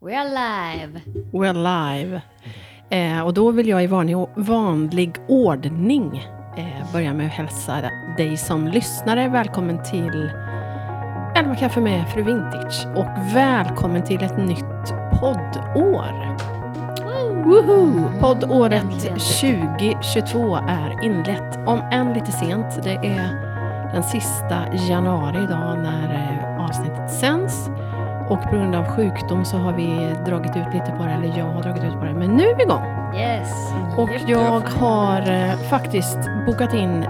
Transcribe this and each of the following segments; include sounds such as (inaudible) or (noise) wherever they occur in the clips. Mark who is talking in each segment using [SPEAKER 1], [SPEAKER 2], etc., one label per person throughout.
[SPEAKER 1] We're alive!
[SPEAKER 2] We're live. Eh, och då vill jag i vanlig, vanlig ordning eh, börja med att hälsa dig som lyssnare välkommen till Elva kaffe med Fru Vintage och välkommen till ett nytt poddår. Woho! Poddåret
[SPEAKER 1] Äntligen.
[SPEAKER 2] 2022 är inlett, om än lite sent. Det är den sista januari idag när eh, avsnittet sänds. Och på grund av sjukdom så har vi dragit ut lite på det, eller jag har dragit ut på det, men nu är vi igång.
[SPEAKER 1] Yes!
[SPEAKER 2] Och jag har eh, faktiskt bokat in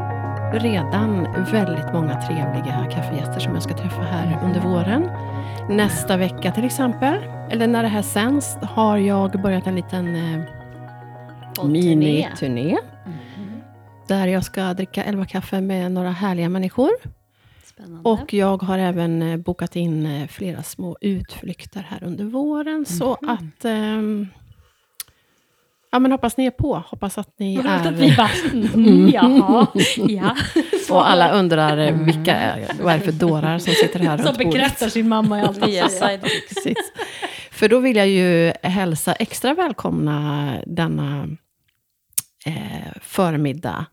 [SPEAKER 2] redan väldigt många trevliga kaffegäster som jag ska träffa här under våren. Nästa vecka till exempel, eller när det här sänds, har jag börjat en liten eh,
[SPEAKER 1] Poddturné.
[SPEAKER 2] miniturné.
[SPEAKER 1] Mhm.
[SPEAKER 2] Där jag ska dricka elva kaffe med några härliga människor.
[SPEAKER 1] Spännande.
[SPEAKER 2] Och jag har även eh, bokat in eh, flera små utflykter här under våren. Så att... ehm, ja, men hoppas ni är på. Hoppas att ni
[SPEAKER 3] Vad roligt
[SPEAKER 2] är...
[SPEAKER 3] att vi bara,
[SPEAKER 4] (laughs)
[SPEAKER 3] mm, jaha, ja.
[SPEAKER 2] Och alla undrar eh, vilka är, vad är det för dårar som sitter
[SPEAKER 3] (laughs)
[SPEAKER 2] här
[SPEAKER 3] Som
[SPEAKER 2] runt bordet.
[SPEAKER 3] bekräftar sin mamma i allt man
[SPEAKER 4] Vi är
[SPEAKER 3] säger.
[SPEAKER 2] (laughs)
[SPEAKER 4] sidekick.
[SPEAKER 2] Precis. För då vill jag ju hälsa extra välkomna denna eh, förmiddag.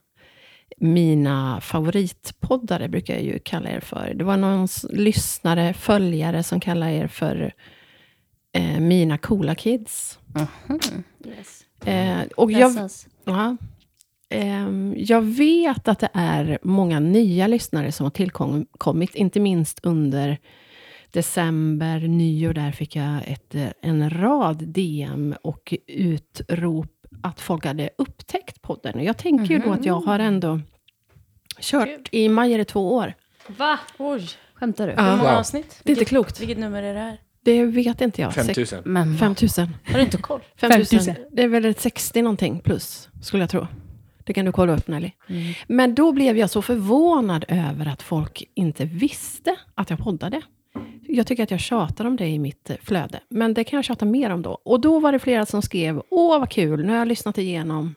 [SPEAKER 2] Mina favoritpoddare brukar jag ju kalla er för. Det var någon s- lyssnare, följare som kallade er för eh, mina coola kids.
[SPEAKER 1] Yes.
[SPEAKER 2] Eh, och jag,
[SPEAKER 1] Jösses.
[SPEAKER 2] ja, Ehm, jag vet att det är många nya lyssnare som har tillkommit, inte minst under december, nyår, där fick jag ett, eh, en rad DM och utrop att folk hade upptäckt podden. Och jag tänker ju då att jag har ändå kört, i maj är det två år.
[SPEAKER 1] Va?
[SPEAKER 4] Oj,
[SPEAKER 1] Skämtar du?
[SPEAKER 2] Ja.
[SPEAKER 4] hur många
[SPEAKER 5] Wow.
[SPEAKER 4] avsnitt?
[SPEAKER 2] Det är inte klokt.
[SPEAKER 4] Vilket nummer är det här?
[SPEAKER 2] Det vet inte jag.
[SPEAKER 5] 5000.
[SPEAKER 4] Men
[SPEAKER 2] 5 000.
[SPEAKER 4] har du inte koll?
[SPEAKER 2] 5000.
[SPEAKER 3] 5000.
[SPEAKER 2] Det är väl ett 60 någonting plus, skulle jag tro. Det kan du kolla upp Nelly. Men då blev jag så förvånad över att folk inte visste att jag poddade. Jag tycker att jag tjatar om det i mitt eh, flöde, men det kan jag tjata mer om då. Och då var det flera som skrev, åh vad kul, nu har jag lyssnat igenom,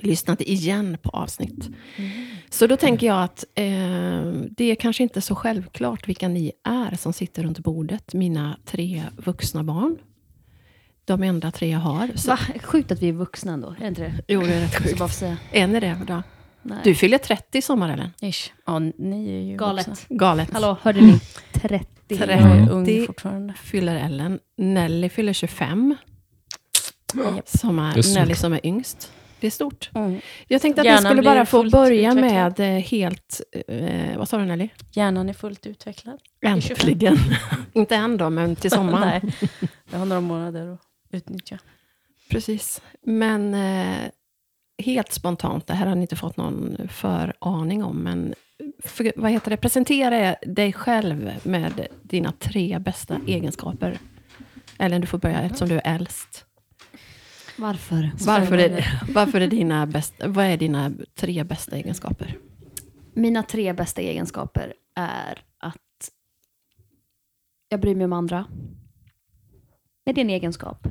[SPEAKER 2] lyssnat igen på avsnitt.
[SPEAKER 1] Mm.
[SPEAKER 2] Så då tänker jag att eh, det är kanske inte så självklart vilka ni är som sitter runt bordet, mina tre vuxna barn. De enda tre jag har. Så,
[SPEAKER 1] Va? Sjukt att vi är vuxna ändå, är det inte (laughs) det?
[SPEAKER 2] Jo, det är rätt
[SPEAKER 1] Så
[SPEAKER 2] sjukt.
[SPEAKER 1] bara för att säga.
[SPEAKER 2] En är det då.
[SPEAKER 1] Nej.
[SPEAKER 2] Du fyller 30 i sommar, Ellen.
[SPEAKER 4] Ish. Ja, ni är ju vuxna.
[SPEAKER 1] Galet.
[SPEAKER 2] Galet.
[SPEAKER 1] Hallå, hörde ni? 30.
[SPEAKER 4] Jag
[SPEAKER 5] Mm.
[SPEAKER 4] är
[SPEAKER 2] Det-
[SPEAKER 4] ung fortfarande.
[SPEAKER 2] Fyller Ellen. Nelly fyller 25. Som
[SPEAKER 5] Det är
[SPEAKER 2] är
[SPEAKER 5] stort.
[SPEAKER 2] Nelly som är yngst. Det är stort.
[SPEAKER 4] Mm.
[SPEAKER 2] Jag tänkte att
[SPEAKER 4] Hjärnan
[SPEAKER 2] jag skulle
[SPEAKER 4] blir
[SPEAKER 2] bara få
[SPEAKER 4] fullt
[SPEAKER 2] börja
[SPEAKER 4] utvecklad.
[SPEAKER 2] med eh, helt... Eh, vad sa du, Nelly?
[SPEAKER 4] Hjärnan är fullt utvecklad. är 25.
[SPEAKER 2] Äntligen. (laughs) Inte än då, men till sommaren.
[SPEAKER 4] (laughs) Nej, jag har några månader att utnyttja.
[SPEAKER 2] Precis. Men eh, helt spontant, det här har ni inte fått någon föraning om, men för, vad heter det? presentera dig själv med dina tre bästa egenskaper. Ellen, du får börja eftersom du är äldst.
[SPEAKER 1] Varför?
[SPEAKER 2] Varför är, (laughs) varför är dina bäst, vad är dina tre bästa egenskaper?
[SPEAKER 1] Mina tre bästa egenskaper är att jag bryr mig om andra. Är det en egenskap?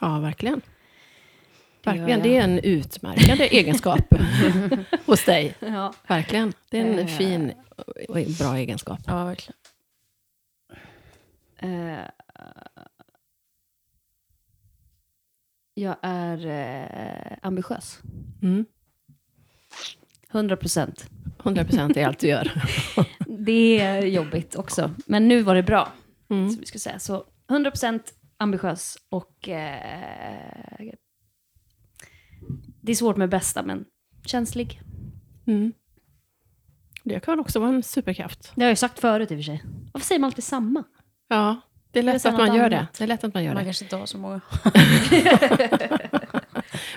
[SPEAKER 2] Ja, verkligen.
[SPEAKER 1] Det gör
[SPEAKER 2] Verkligen,
[SPEAKER 1] jag.
[SPEAKER 2] det är en utmärkande (laughs) egenskap hos dig.
[SPEAKER 1] Ja.
[SPEAKER 2] Verkligen. Det är en
[SPEAKER 1] Eh.
[SPEAKER 2] fin och bra egenskap.
[SPEAKER 4] Ja, verkligen.
[SPEAKER 1] Eh, jag är eh, ambitiös.
[SPEAKER 2] Mm.
[SPEAKER 1] 100 procent.
[SPEAKER 2] 100% är allt du gör.
[SPEAKER 1] Det är jobbigt också. Men nu var det bra.
[SPEAKER 2] (laughs) Mm.
[SPEAKER 1] Så, vi ska säga. så 100 procent ambitiös och... Eh, det är svårt med bästa, men känslig.
[SPEAKER 2] Mm. Det kan också vara en superkraft.
[SPEAKER 1] Det har jag ju sagt förut i och för sig. Varför säger man alltid samma?
[SPEAKER 2] Ja, det är
[SPEAKER 1] Eller
[SPEAKER 2] lätt
[SPEAKER 1] så
[SPEAKER 2] att
[SPEAKER 1] något
[SPEAKER 2] man gör det.
[SPEAKER 1] annat.
[SPEAKER 2] Det är lätt att man gör
[SPEAKER 4] Man
[SPEAKER 2] det.
[SPEAKER 4] kanske inte har så (laughs) många.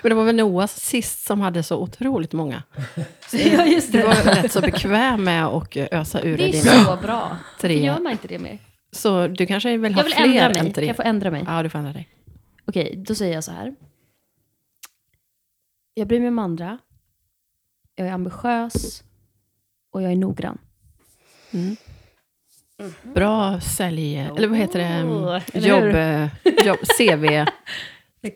[SPEAKER 2] Men det var väl Noah sist som hade så otroligt många.
[SPEAKER 1] (laughs) Ja, just
[SPEAKER 2] Du var rätt så bekväm med att ösa
[SPEAKER 1] Det
[SPEAKER 2] ur dig
[SPEAKER 1] är
[SPEAKER 2] dina
[SPEAKER 1] så bra. Varför
[SPEAKER 2] tre.
[SPEAKER 1] gör man inte det mer?
[SPEAKER 2] Så du kanske vill ha
[SPEAKER 1] Jag vill
[SPEAKER 2] fler
[SPEAKER 1] ändra
[SPEAKER 2] än
[SPEAKER 1] mig.
[SPEAKER 2] tre?
[SPEAKER 1] Jag får ändra mig.
[SPEAKER 2] Ja, du får ändra dig.
[SPEAKER 1] Okej, då säger jag så här. Jag bryr mig om andra. Jag är ambitiös. Och jag är noggrann.
[SPEAKER 2] Mm. Bra sälj... Eller vad heter det? Mm.
[SPEAKER 1] Oh, Mm-hmm. eller
[SPEAKER 2] Jobb...
[SPEAKER 1] hur? (laughs)
[SPEAKER 2] eh, jobb CV...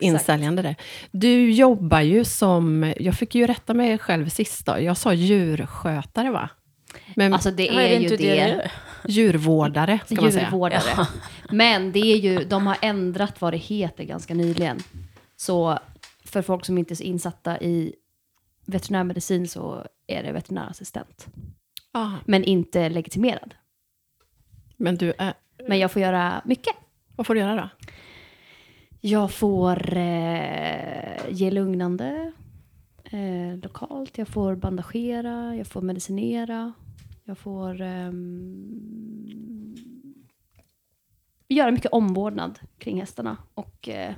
[SPEAKER 2] insäljande där. Du jobbar ju som, jag fick ju rätta mig själv sist då, jag sa djurskötare va? Men
[SPEAKER 1] Alltså det
[SPEAKER 4] Ja,
[SPEAKER 1] är,
[SPEAKER 4] inte
[SPEAKER 1] ju det.
[SPEAKER 4] du gör?
[SPEAKER 2] Djurvårdare, ska man säga.
[SPEAKER 1] djurvårdare. Men det är ju, de har ändrat vad det heter ganska nyligen. Så för folk som inte är så insatta i veterinärmedicin så är det veterinärassistent.
[SPEAKER 2] Ah,
[SPEAKER 1] Men inte legitimerad.
[SPEAKER 2] men du, är,
[SPEAKER 1] Men jag får göra mycket.
[SPEAKER 2] vad får du göra då?
[SPEAKER 1] Jag får eh, ge lugnande eh, lokalt, jag får bandagera, jag får medicinera, jag får ehm, göra mycket omvårdnad kring hästarna och eh,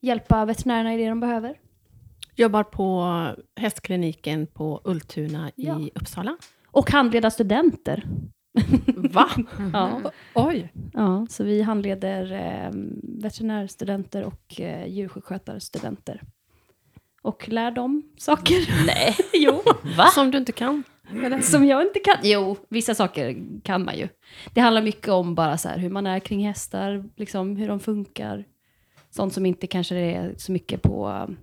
[SPEAKER 1] hjälpa veterinärerna i det de behöver.
[SPEAKER 2] Jobbar på hästkliniken på Ultuna
[SPEAKER 1] Ja.
[SPEAKER 2] i
[SPEAKER 1] (laughs)
[SPEAKER 2] Uppsala.
[SPEAKER 1] Och handleda studenter.
[SPEAKER 2] Va?
[SPEAKER 1] Ja.
[SPEAKER 2] Oj!
[SPEAKER 1] Ja, så vi handleder eh, veterinärstudenter och eh, djursjukskötarstudenter. Och lär dem saker. Nej. (laughs) jo.
[SPEAKER 2] Som du inte kan.
[SPEAKER 1] alltså, Som jag inte kan. Jo, vissa saker kan man ju. Det handlar mycket om bara så här, hur man är kring hästar, liksom, hur de funkar. Sånt som inte kanske är så mycket på um,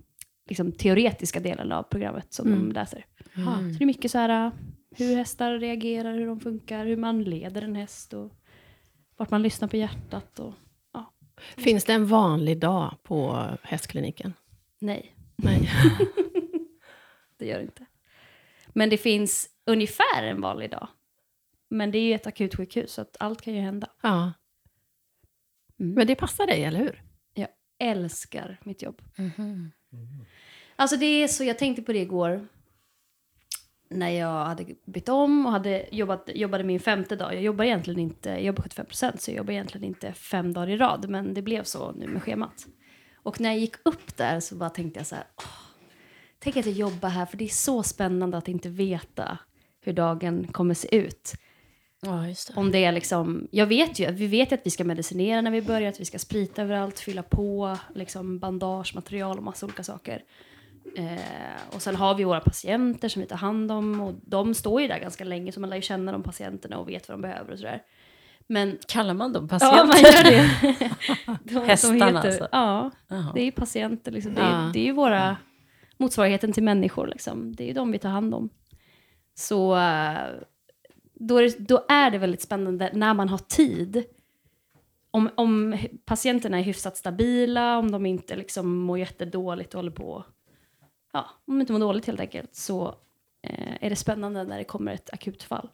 [SPEAKER 1] liksom, teoretiska delen av programmet som de läser. Så det är mycket så här, uh, hur hästar reagerar, hur de funkar, hur man leder en häst och vart man lyssnar på hjärtat. Och, ja,
[SPEAKER 2] Finns det en vanlig dag på hästkliniken?
[SPEAKER 1] nej,
[SPEAKER 2] Nej.
[SPEAKER 1] det gör det inte. Men det finns ungefär en vanlig dag. Men det är ju ett akutsjukhus så att allt kan ju hända.
[SPEAKER 2] (laughs) Ja.
[SPEAKER 1] Mm.
[SPEAKER 2] Men det passar dig, eller hur?
[SPEAKER 1] Jag älskar mitt jobb. Alltså det är så, jag tänkte på det igår. När jag hade bytt om och hade jobbat, jobbade min femte dag. Jag jobbar egentligen inte, jag jobbar 75 procent så jag jobbar egentligen inte fem dagar i rad. Men det blev så nu med schemat. Och när jag gick upp där så bara tänkte jag så här. Åh, tänk att jag jobbar här för det är så spännande att inte veta hur dagen kommer se ut.
[SPEAKER 4] Ja, just det.
[SPEAKER 1] Om det är liksom, jag vet ju, vi vet ju att vi ska medicinera när vi börjar, att vi ska sprita överallt, fylla på, liksom bandage, material och massa olika saker. Eh, och sen har vi våra patienter som vi tar hand om och de står ju där ganska länge så man lär ju känna de patienterna och vet vad de behöver och sådär. Men
[SPEAKER 4] Kallar man dem
[SPEAKER 1] ja, man
[SPEAKER 4] patienter?
[SPEAKER 1] gör det.
[SPEAKER 4] (laughs)
[SPEAKER 1] (laughs) De- de
[SPEAKER 4] Hästarna
[SPEAKER 1] heter-
[SPEAKER 4] alltså.
[SPEAKER 1] Ja,
[SPEAKER 4] Jaha.
[SPEAKER 1] det är ju patienter liksom. Det är,
[SPEAKER 2] Ja.
[SPEAKER 1] det är ju våra motsvarigheten till människor liksom. Det är ju de vi tar hand om. Så eh, då är, det, då är det väldigt spännande när man har tid. Om, om patienterna är hyfsat stabila, om de inte liksom mår jättedåligt och håller på. Ja, om de inte mår dåligt helt enkelt så eh, är det spännande när det kommer ett akutfall.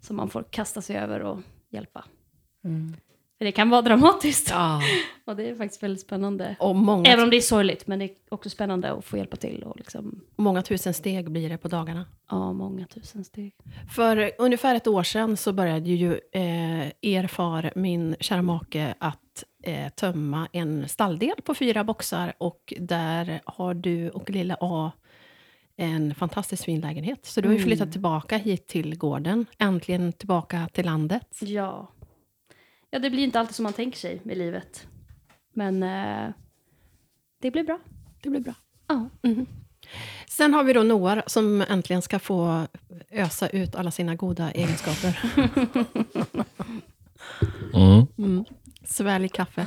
[SPEAKER 1] Som man får kasta sig över och hjälpa. För det kan vara dramatiskt. (laughs)
[SPEAKER 2] Ja.
[SPEAKER 1] Och det är faktiskt väldigt spännande.
[SPEAKER 2] Och många,
[SPEAKER 1] Även om det är sorgligt, men det är också spännande att få hjälpa till. Och liksom,
[SPEAKER 2] många tusen steg blir det på dagarna.
[SPEAKER 1] ja, många tusen steg.
[SPEAKER 2] För ungefär ett år sedan så började ju eh, er far, min kära make, att eh, tömma en stalldel på fyra boxar. Och där har du och lilla A en fantastisk fin lägenhet. Så du har ju flyttat tillbaka hit till gården. Äntligen tillbaka till landet.
[SPEAKER 1] Ja. Ja, det blir ju inte alltid som man tänker sig i livet. Men eh, det blir bra.
[SPEAKER 2] Det blir bra.
[SPEAKER 1] Ja.
[SPEAKER 2] Sen har vi då Noah som äntligen ska få ösa ut alla sina goda egenskaper. (laughs)
[SPEAKER 5] Mm.
[SPEAKER 2] Svälj kaffet.
[SPEAKER 5] Ja,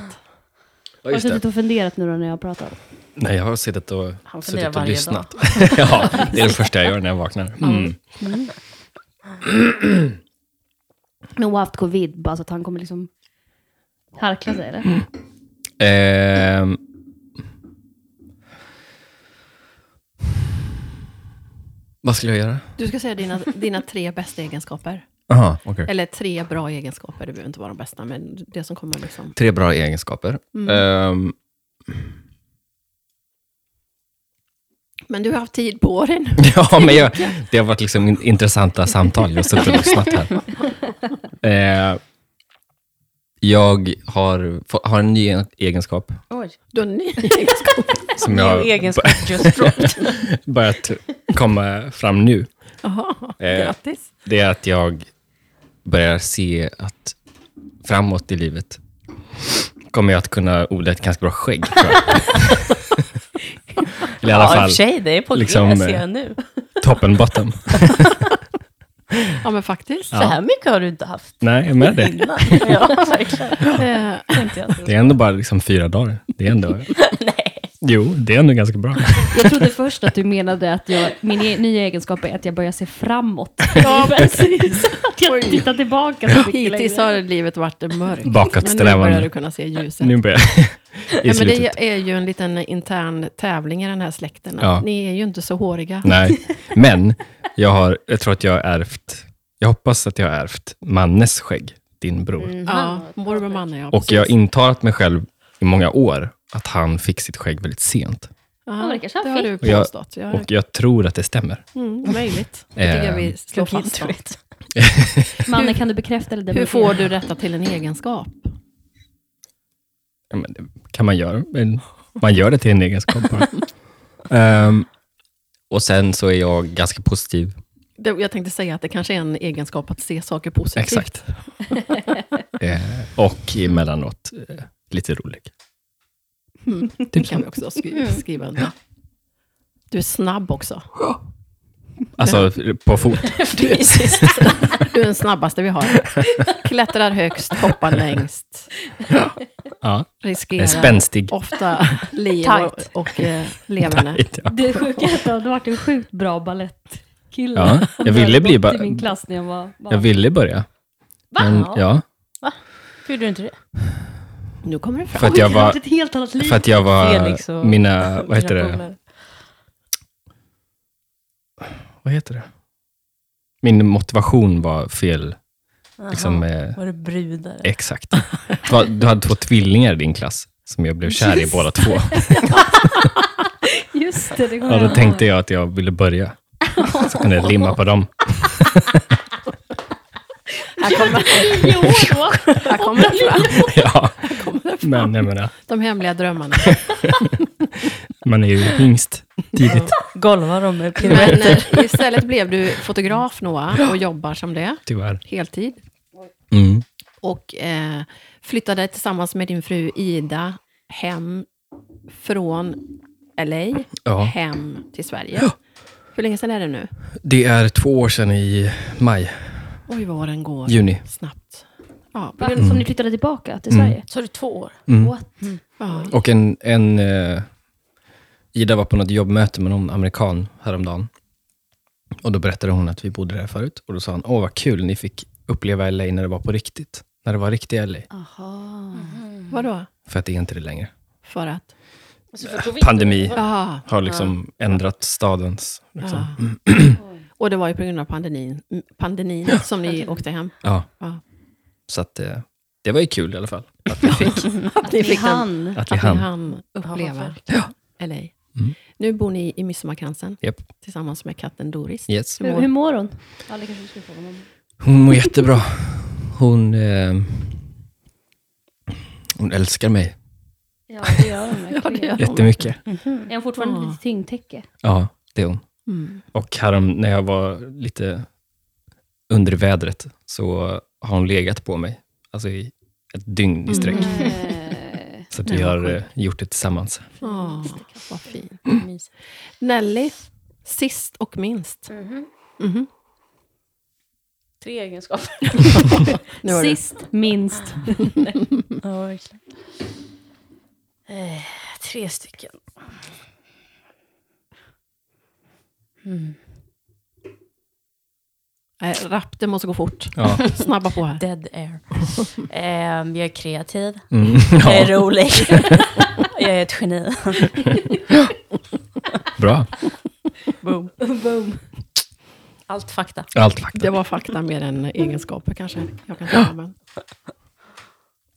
[SPEAKER 1] Har du
[SPEAKER 5] just det.
[SPEAKER 1] suttit och funderat nu då när jag har pratat?
[SPEAKER 5] Nej, jag har suttit och,
[SPEAKER 4] Han funderar
[SPEAKER 5] suttit
[SPEAKER 4] varje
[SPEAKER 5] och
[SPEAKER 4] dag. (laughs)
[SPEAKER 5] lyssnat. ja, det är det första jag gör när jag vaknar. Mm.
[SPEAKER 1] Men hon har haft covid, bara så att han kommer liksom harkla sig, eller?
[SPEAKER 5] Ehm. Vad skulle jag göra?
[SPEAKER 2] Du ska säga dina, dina tre bästa egenskaper.
[SPEAKER 5] Aha, okej.
[SPEAKER 2] Eller tre bra egenskaper, det behöver inte vara de bästa, men det som kommer liksom.
[SPEAKER 5] Tre bra egenskaper.
[SPEAKER 4] Mm.
[SPEAKER 5] Ehm, (laughs)
[SPEAKER 2] Men du har haft tid på dig nu.
[SPEAKER 5] ja, men jag, det har varit liksom in- intressanta samtal. Jag
[SPEAKER 4] (laughs)
[SPEAKER 5] har suttit och lyssnat här. Ehm, jag har, få- har en ny e- egenskap.
[SPEAKER 4] Oj,
[SPEAKER 2] Du har en (laughs) ny egenskap.
[SPEAKER 5] Som
[SPEAKER 4] min
[SPEAKER 5] jag (laughs)
[SPEAKER 4] egenskap just dropped.
[SPEAKER 5] börjat komma fram nu.
[SPEAKER 2] Jaha,
[SPEAKER 5] Eh.
[SPEAKER 2] grattis.
[SPEAKER 5] Det är att jag börjar se att framåt i livet kommer jag att kunna odla ett ganska bra skägg. Tror
[SPEAKER 4] (laughs)
[SPEAKER 5] jag. Eller i alla
[SPEAKER 4] Ja, i
[SPEAKER 5] fall
[SPEAKER 4] och för sig, det är på
[SPEAKER 5] liksom,
[SPEAKER 4] G, ser
[SPEAKER 5] eh,
[SPEAKER 4] jag nu.
[SPEAKER 5] toppen bottom.
[SPEAKER 2] Ja, men faktiskt.
[SPEAKER 4] Så här mycket har du inte haft
[SPEAKER 5] Nej, jag med det.
[SPEAKER 4] innan. ja, verkligen.
[SPEAKER 2] Eh,
[SPEAKER 4] Tänkte jag.
[SPEAKER 5] Det är ändå bara liksom fyra dagar. Det är ändå...
[SPEAKER 4] (laughs) Nej.
[SPEAKER 5] Jo, det är nog ganska bra.
[SPEAKER 1] Jag trodde först att du menade att jag, min e- nya egenskap är att jag börjar se framåt. Ja, (laughs) precis.
[SPEAKER 3] Att jag tittar tillbaka så
[SPEAKER 2] (laughs)
[SPEAKER 3] mycket
[SPEAKER 2] Hittills
[SPEAKER 3] längre.
[SPEAKER 2] har livet varit mörkt. Men nu
[SPEAKER 5] Bakåtsträvande.
[SPEAKER 2] börjar du kunna se ljuset.
[SPEAKER 5] Nu börjar
[SPEAKER 4] (laughs)
[SPEAKER 5] jag. I
[SPEAKER 2] Ja, men
[SPEAKER 5] slutet.
[SPEAKER 2] det är ju en liten intern tävling i den här släkten. att
[SPEAKER 5] Ja.
[SPEAKER 2] Ni är ju inte så håriga.
[SPEAKER 5] Nej, men jag, har, jag tror att jag har ärvt, jag hoppas att jag har ärvt Mannes skägg, din bror.
[SPEAKER 2] Ja, morbror Manne, ja.
[SPEAKER 5] Och
[SPEAKER 2] precis.
[SPEAKER 5] jag har intalat mig själv i många år att han fick sitt skägg väldigt sent.
[SPEAKER 1] Ja,
[SPEAKER 2] ja,
[SPEAKER 1] men det kanske
[SPEAKER 2] det
[SPEAKER 1] han
[SPEAKER 2] har
[SPEAKER 1] fick.
[SPEAKER 2] du
[SPEAKER 5] Och jag-
[SPEAKER 2] påstått. Jag,
[SPEAKER 5] Och Ehm, jag tror att det stämmer.
[SPEAKER 2] mm, möjligt. Det tycker jag vi slår fast. då.
[SPEAKER 4] (laughs)
[SPEAKER 1] Manne, kan du bekräfta eller
[SPEAKER 2] Hur
[SPEAKER 1] dementera?
[SPEAKER 2] får du detta till en egenskap?
[SPEAKER 5] Ja, men det kan man göra. Men man gör det till en egenskap (laughs) bara. Ehm, och sen så är jag ganska positiv.
[SPEAKER 2] Det- Jag tänkte säga att det kanske är en egenskap att se saker positivt.
[SPEAKER 5] (laughs) Exakt. Eh, och emellanåt eh, lite rolig.
[SPEAKER 2] Det kan vi också skri- skriva under. Du är snabb också.
[SPEAKER 5] Alltså på (laughs) fot.
[SPEAKER 2] Du är den snabbaste vi har. Klättrar högst, hoppar längst,
[SPEAKER 5] Ja. Eh,
[SPEAKER 2] riskerar
[SPEAKER 5] Spänstig.
[SPEAKER 2] ofta liv
[SPEAKER 4] Tight.
[SPEAKER 2] och, och eh, leverne.
[SPEAKER 5] Ja.
[SPEAKER 1] Det sjuka är att du hade varit en sjukt bra balettkille.
[SPEAKER 5] (laughs) Ja, jag ville bli
[SPEAKER 1] ba-
[SPEAKER 5] ba-
[SPEAKER 1] i min klass när jag var barn.
[SPEAKER 5] Jag ville börja. Men, ja,
[SPEAKER 4] Hur gjorde du inte det?
[SPEAKER 2] Nu kommer det
[SPEAKER 5] för
[SPEAKER 2] fram.
[SPEAKER 5] att jag
[SPEAKER 1] Det hade
[SPEAKER 5] var...
[SPEAKER 1] varit ett helt annat liv.
[SPEAKER 5] För att jag var...
[SPEAKER 4] Felix och-
[SPEAKER 5] Mina... Vad heter det?
[SPEAKER 4] Generationer.
[SPEAKER 5] Vad heter det? Min motivation var fel. Liksom, eh,
[SPEAKER 4] Var det brudar?
[SPEAKER 5] exakt. Du har- Du hade två tvillingar i din klass som jag blev kär i båda två.
[SPEAKER 1] (laughs) Just det, det går
[SPEAKER 5] Ja, då
[SPEAKER 1] jag
[SPEAKER 5] tänkte jag att jag ville börja. Så kunde jag limma på dem.
[SPEAKER 2] Här kommer,
[SPEAKER 1] Jo,
[SPEAKER 4] (laughs)
[SPEAKER 1] då.
[SPEAKER 2] här kommer det fram.
[SPEAKER 5] Ja. Men jag menar,
[SPEAKER 2] De hemliga
[SPEAKER 5] (laughs)
[SPEAKER 2] drömmarna.
[SPEAKER 5] man är ju hingst tidigt,
[SPEAKER 4] Golvar de med
[SPEAKER 2] Men (laughs) eh, istället blev du fotograf, Noah, och jobbar som det,
[SPEAKER 5] tyvärr.
[SPEAKER 2] heltid.
[SPEAKER 5] Mm.
[SPEAKER 2] Och eh, flyttade tillsammans med din fru Ida hem från LA,
[SPEAKER 5] Ja.
[SPEAKER 2] hem till Sverige. Hur länge sedan är det nu?
[SPEAKER 5] Det är två år sedan i maj,
[SPEAKER 2] Oj, vad åren går
[SPEAKER 5] juni.
[SPEAKER 2] snabbt. Ja,
[SPEAKER 1] Va? Som ni flyttade tillbaka till
[SPEAKER 5] Mm.
[SPEAKER 1] Sverige?
[SPEAKER 4] Så är det två år?
[SPEAKER 1] What?
[SPEAKER 2] ja.
[SPEAKER 5] Och en... en eh, Ida var på något jobbmöte med någon amerikan häromdagen. Och då berättade hon att vi bodde där förut. Och då sa han, åh vad kul, ni fick uppleva LA när det var på riktigt. När det var riktiga LA.
[SPEAKER 2] Vadå?
[SPEAKER 5] För att det är inte det längre.
[SPEAKER 2] För att?
[SPEAKER 4] Alltså,
[SPEAKER 5] Pandemi
[SPEAKER 2] Ja.
[SPEAKER 5] har liksom ändrat stadens... Liksom.
[SPEAKER 2] Och det var ju på grund av pandemin, pandemin som ni åkte hem.
[SPEAKER 5] Ja.
[SPEAKER 2] Ja.
[SPEAKER 5] Så att, eh, det var ju kul i alla fall. Att vi fick,
[SPEAKER 2] Att
[SPEAKER 1] Vi
[SPEAKER 2] ni den-
[SPEAKER 1] hann.
[SPEAKER 5] att vi
[SPEAKER 2] Att ni
[SPEAKER 5] hann.
[SPEAKER 2] hann uppleva LA.
[SPEAKER 5] Mm.
[SPEAKER 2] Nu bor ni i Midsommarkransen
[SPEAKER 5] Japp.
[SPEAKER 2] tillsammans med katten Doris.
[SPEAKER 5] Yes.
[SPEAKER 1] Hur, hur mår hon? Ja, det kanske du skulle fråga om.
[SPEAKER 5] Hon mår jättebra. Hon, eh, hon älskar mig
[SPEAKER 1] (laughs) Ja, det gör hon
[SPEAKER 2] Ja, det
[SPEAKER 1] verkligen.
[SPEAKER 2] gör hon.
[SPEAKER 5] jättemycket.
[SPEAKER 1] Är hon fortfarande
[SPEAKER 2] Ja.
[SPEAKER 1] lite tyngdtäcke?
[SPEAKER 5] Ja, det är hon.
[SPEAKER 2] Mm.
[SPEAKER 5] Och härom, när jag var lite under vädret så har hon legat på mig. Alltså i ett dygn i sträck.
[SPEAKER 1] Mm. Eh,
[SPEAKER 5] Så att vi har eh, gjort det tillsammans.
[SPEAKER 2] Åh, vad fint. Nelly, sist och minst. Mhm.
[SPEAKER 4] Tre egenskaper.
[SPEAKER 2] Nu har du-
[SPEAKER 1] Sist, minst.
[SPEAKER 4] Ja, verkligen. Eh, tre stycken. Mm.
[SPEAKER 2] Nej, Rapp, det måste gå fort.
[SPEAKER 5] Ja.
[SPEAKER 2] (laughs) Snabba på här.
[SPEAKER 4] Dead air. Ehm, jag är kreativ.
[SPEAKER 5] (laughs) Mm,
[SPEAKER 4] Jag
[SPEAKER 5] ja,
[SPEAKER 4] är
[SPEAKER 5] (laughs)
[SPEAKER 4] rolig. jag är ett geni.
[SPEAKER 5] bra.
[SPEAKER 2] Boom.
[SPEAKER 1] Boom.
[SPEAKER 4] Allt fakta.
[SPEAKER 5] Allt fakta.
[SPEAKER 2] Det var fakta mer än egenskaper kanske. Jag kan, säga, men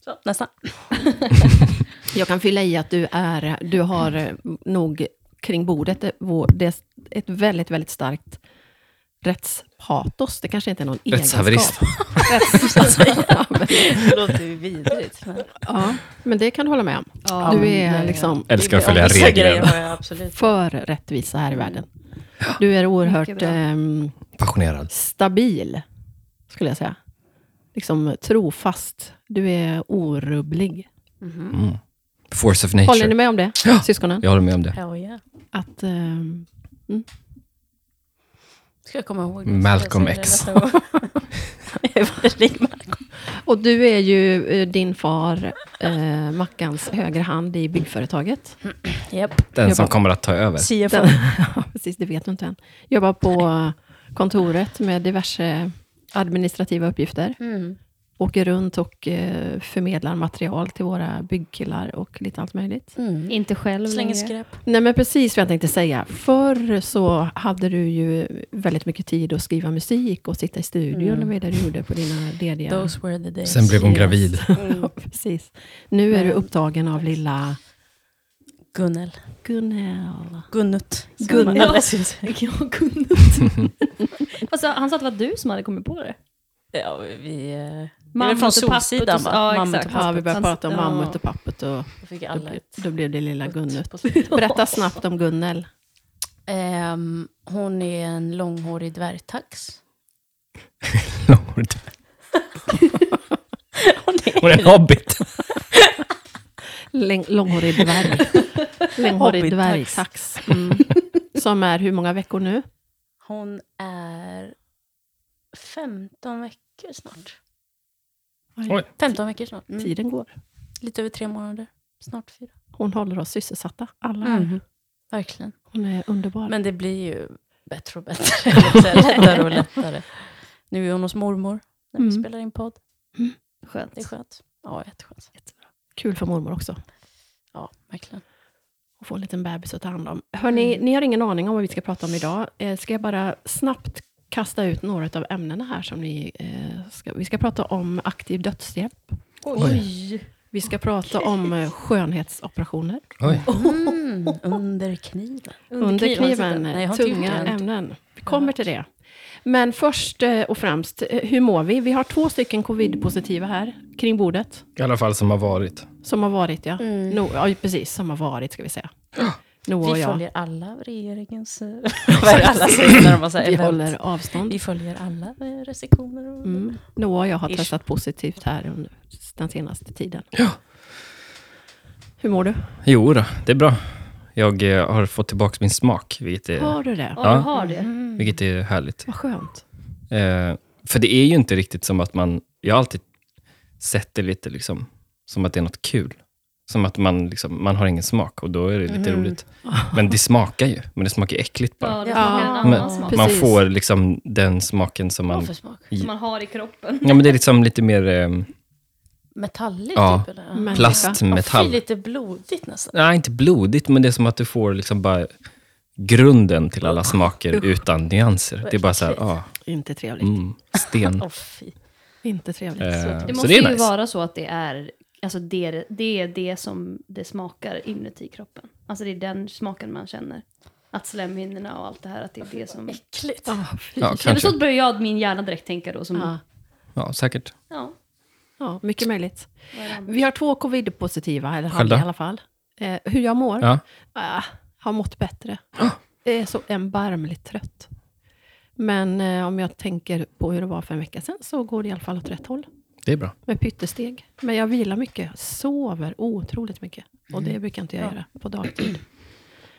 [SPEAKER 4] Så, nästa.
[SPEAKER 2] jag kan fylla i att du, är, du har eh, nog kring bordet eh, vår- det är ett väldigt, väldigt starkt rättspatos. Det kanske inte är någon
[SPEAKER 5] Rättshaverist.
[SPEAKER 2] egenskap. Rättshaverist. ja, men,
[SPEAKER 4] Det låter ju vidrigt. Men...
[SPEAKER 2] ja, men det kan du hålla med om.
[SPEAKER 1] Ja,
[SPEAKER 2] du
[SPEAKER 1] men det
[SPEAKER 2] är
[SPEAKER 1] är-
[SPEAKER 2] liksom
[SPEAKER 5] Älskar att följa
[SPEAKER 4] Vissa grejer
[SPEAKER 5] regler.
[SPEAKER 4] har jag absolut.
[SPEAKER 2] för rättvisa här i världen. Du är
[SPEAKER 1] Mycket
[SPEAKER 2] oerhört
[SPEAKER 1] bra.
[SPEAKER 2] ehm,
[SPEAKER 5] Passionerad.
[SPEAKER 2] stabil, skulle jag säga. Liksom trofast. Du är orubblig.
[SPEAKER 5] Mm. Force of
[SPEAKER 2] Håller ni
[SPEAKER 5] nature.
[SPEAKER 2] med om det,
[SPEAKER 5] Ja.
[SPEAKER 2] syskonen?
[SPEAKER 5] Jag håller med om det.
[SPEAKER 4] Hell Oh, yeah.
[SPEAKER 2] Att, ehm,
[SPEAKER 4] Ska jag komma ihåg det?
[SPEAKER 5] Malcolm
[SPEAKER 4] Jag säger det
[SPEAKER 5] X.
[SPEAKER 4] (laughs) nästa gång. Ringmark.
[SPEAKER 2] Och du är ju eh, din far, eh, Mackans högra hand i byggföretaget.
[SPEAKER 5] Mm.
[SPEAKER 4] Japp.
[SPEAKER 5] Den som
[SPEAKER 2] Jobbar-
[SPEAKER 5] kommer att ta över.
[SPEAKER 4] CFO.
[SPEAKER 2] Ja, precis, det vet du inte än. Jobbar på kontoret med diverse administrativa uppgifter.
[SPEAKER 4] Mm.
[SPEAKER 2] Åker runt och eh, förmedlar material till våra byggkillar och lite allt möjligt.
[SPEAKER 4] Mm.
[SPEAKER 1] Inte själv
[SPEAKER 4] Slänger
[SPEAKER 1] längre.
[SPEAKER 4] skräp.
[SPEAKER 2] Nej, men precis vad jag tänkte säga. Förr så hade du ju väldigt mycket tid att skriva musik och sitta i studion. Det var det du gjorde på dina lediga...
[SPEAKER 4] Those were the days. Mm.
[SPEAKER 5] Sen blev hon gravid.
[SPEAKER 2] (laughs)
[SPEAKER 5] (laughs)
[SPEAKER 2] Ja, precis. Nu är du upptagen av lilla
[SPEAKER 4] Gunnel.
[SPEAKER 2] Gunnel.
[SPEAKER 4] Gunnut.
[SPEAKER 1] Gunnel.
[SPEAKER 4] Ja, precis.
[SPEAKER 1] Jag har kunnat. Fast han sa att det var du som hade kommit på det.
[SPEAKER 4] Ja, vi... eh,
[SPEAKER 1] Mammut
[SPEAKER 4] från
[SPEAKER 1] och papput
[SPEAKER 4] Solsidan,
[SPEAKER 1] och så-
[SPEAKER 4] va?
[SPEAKER 1] Ja,
[SPEAKER 4] Mammut och
[SPEAKER 1] exakt.
[SPEAKER 2] Ja, vi började prata om
[SPEAKER 1] Ja.
[SPEAKER 2] mammut och pappet och
[SPEAKER 4] Då fick
[SPEAKER 2] då,
[SPEAKER 4] alla
[SPEAKER 2] blev-
[SPEAKER 4] ett
[SPEAKER 2] då blev det lilla Gunnut.
[SPEAKER 4] på slutet.
[SPEAKER 2] Berätta snabbt om Gunnel.
[SPEAKER 4] Ehm, hon är en långhårig dvärgtax. Hon är
[SPEAKER 5] Hon är en hobbit.
[SPEAKER 2] Läng- Långhårig dvärg. (laughs) Långhårig dvärgtax. Mm. Som är hur många veckor nu?
[SPEAKER 4] Hon är 15 veckor snart.
[SPEAKER 5] Oj.
[SPEAKER 4] 15 veckor snart. Mm.
[SPEAKER 2] Tiden går.
[SPEAKER 4] Lite över tre månader. Snart fyra.
[SPEAKER 2] Hon håller oss sysselsatta, alla.
[SPEAKER 4] Verkligen.
[SPEAKER 2] Hon är underbar.
[SPEAKER 4] Mm. Men det blir ju bättre och (laughs) bättre. lättare och lättare. Nu är hon hos mormor när vi
[SPEAKER 2] Mm.
[SPEAKER 4] spelar in podd.
[SPEAKER 1] Skönt.
[SPEAKER 4] Det är skönt. Ja, jätteskönt.
[SPEAKER 2] Kul för mormor också.
[SPEAKER 4] Ja, verkligen.
[SPEAKER 2] och få en liten bebis att ta hand om. Mm. Hörni, ni har ingen aning om vad vi ska prata om idag. Eh, ska jag bara snabbt kasta ut några av ämnena här som ni... Eh, ska, vi ska prata om aktiv dödshjälp.
[SPEAKER 1] Oj.
[SPEAKER 2] Vi ska prata om eh, skönhetsoperationer.
[SPEAKER 5] Oj.
[SPEAKER 4] Mm, under kniven.
[SPEAKER 2] Under kniven,
[SPEAKER 4] Nej, jag har inte
[SPEAKER 2] tunga
[SPEAKER 4] gjort det än.
[SPEAKER 2] ämnen. Vi kommer till det. Men först eh, och främst, eh, hur mår vi? Vi har två stycken covid-positiva här kring bordet.
[SPEAKER 5] I alla fall som har varit.
[SPEAKER 2] Som har varit, ja.
[SPEAKER 4] Mm.
[SPEAKER 2] No, ja precis, som har varit ska vi (gasps) säga. Noah och
[SPEAKER 4] Vi
[SPEAKER 2] jag.
[SPEAKER 4] följer alla regeringens... (laughs) eh, Vad är det alla säger när de har så här
[SPEAKER 2] Vi
[SPEAKER 4] event?
[SPEAKER 2] håller avstånd.
[SPEAKER 4] Vi följer alla eh, restriktioner. Och...
[SPEAKER 2] Mm. Noah och jag har
[SPEAKER 4] Ish.
[SPEAKER 2] testat positivt här under den senaste tiden.
[SPEAKER 5] Ja.
[SPEAKER 2] Hur mår du?
[SPEAKER 5] Jo då, det är bra. Jag eh, har fått tillbaka min smak, vilket är,
[SPEAKER 2] Har du det?
[SPEAKER 1] Ja, Mm.
[SPEAKER 5] Ja.
[SPEAKER 1] du har det.
[SPEAKER 4] Mm.
[SPEAKER 5] vilket är härligt.
[SPEAKER 2] Vad skönt.
[SPEAKER 5] Eh, för det är ju inte riktigt som att man... Jag har alltid sett det lite liksom, som att det är något kul. Som att man, liksom, man har ingen smak och då är det lite roligt. Men det smakar ju, men det smakar äckligt bara.
[SPEAKER 1] Ja, det
[SPEAKER 4] Ja.
[SPEAKER 1] smakar en annan
[SPEAKER 5] Men-
[SPEAKER 1] smak.
[SPEAKER 2] precis.
[SPEAKER 5] Man får liksom den smaken som
[SPEAKER 4] Vad
[SPEAKER 5] man...
[SPEAKER 4] för smak?
[SPEAKER 1] Som man har i kroppen.
[SPEAKER 5] Ja, men det är liksom lite mer ehm,
[SPEAKER 4] Metallig
[SPEAKER 5] Ja.
[SPEAKER 4] typ? Eller?
[SPEAKER 2] Men-
[SPEAKER 4] Ja, fy,
[SPEAKER 5] plastmetall.
[SPEAKER 4] lite blodigt nästan.
[SPEAKER 5] Nej, inte blodigt, men det är som att du får liksom bara grunden till alla smaker utan nyanser. Det är bara så här, ah,
[SPEAKER 2] Inte trevligt.
[SPEAKER 5] mm,
[SPEAKER 4] (laughs)
[SPEAKER 5] sten.
[SPEAKER 4] Åh fy.
[SPEAKER 2] Inte trevligt.
[SPEAKER 5] Eh,
[SPEAKER 1] Det
[SPEAKER 5] så
[SPEAKER 1] måste
[SPEAKER 5] det
[SPEAKER 1] ju
[SPEAKER 5] är nice.
[SPEAKER 1] vara så att det är, alltså det, är- det är det som det smakar inuti kroppen. Alltså det är den smaken man känner. Att slemhinnorna och allt det här, att det är det som...
[SPEAKER 4] Äckligt.
[SPEAKER 5] Ja,
[SPEAKER 1] Eller
[SPEAKER 5] kanske.
[SPEAKER 1] så börjar jag min hjärna direkt tänka då som...
[SPEAKER 2] Ja.
[SPEAKER 1] Ja.
[SPEAKER 5] Ja, säkert.
[SPEAKER 2] Ja, mycket möjligt.
[SPEAKER 1] vad är det?
[SPEAKER 2] Vi har två covid-positiva, eller hade
[SPEAKER 5] Själv då?
[SPEAKER 2] i alla fall. Eh, hur jag mår?
[SPEAKER 5] Ja.
[SPEAKER 2] Ah, har mått bättre. Jag är så erbarmligt trött. Men eh, om jag tänker på hur det var för en vecka sedan så går det i alla fall åt rätt håll.
[SPEAKER 5] Det är bra.
[SPEAKER 2] Med pyttesteg. Men jag vilar mycket, sover otroligt mycket. Och
[SPEAKER 4] Mm.
[SPEAKER 2] det brukar inte jag göra på dagtid.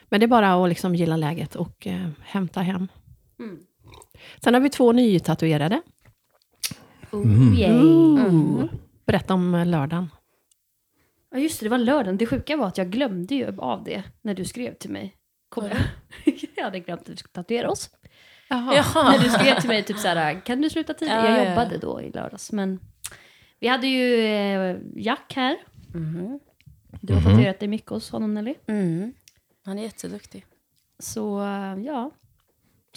[SPEAKER 2] Men det är bara att liksom gilla läget och eh, hämta hem.
[SPEAKER 1] Mm.
[SPEAKER 2] Sen har vi två nytatuerade.
[SPEAKER 5] Mm.
[SPEAKER 1] Oh, yay.
[SPEAKER 4] Mm.
[SPEAKER 2] Ooh. Berätta om eh, lördagen.
[SPEAKER 1] Ja just det, det var lördagen. Det sjuka var att jag glömde ju av det när du skrev till mig. Kom jag. jag (laughs) hade glömt att vi skulle tatuera oss. När du skrev till mig typ så här, kan du sluta tidigare?
[SPEAKER 4] Ja,
[SPEAKER 1] Jag
[SPEAKER 4] ja.
[SPEAKER 1] jobbade då i lördags. Men vi hade ju eh, Jack här.
[SPEAKER 2] Mm.
[SPEAKER 4] Mhm.
[SPEAKER 1] Du har tatuerat dig mycket hos honom Nelly.
[SPEAKER 4] Mm. Han är jätteduktig.
[SPEAKER 1] Så eh, ja.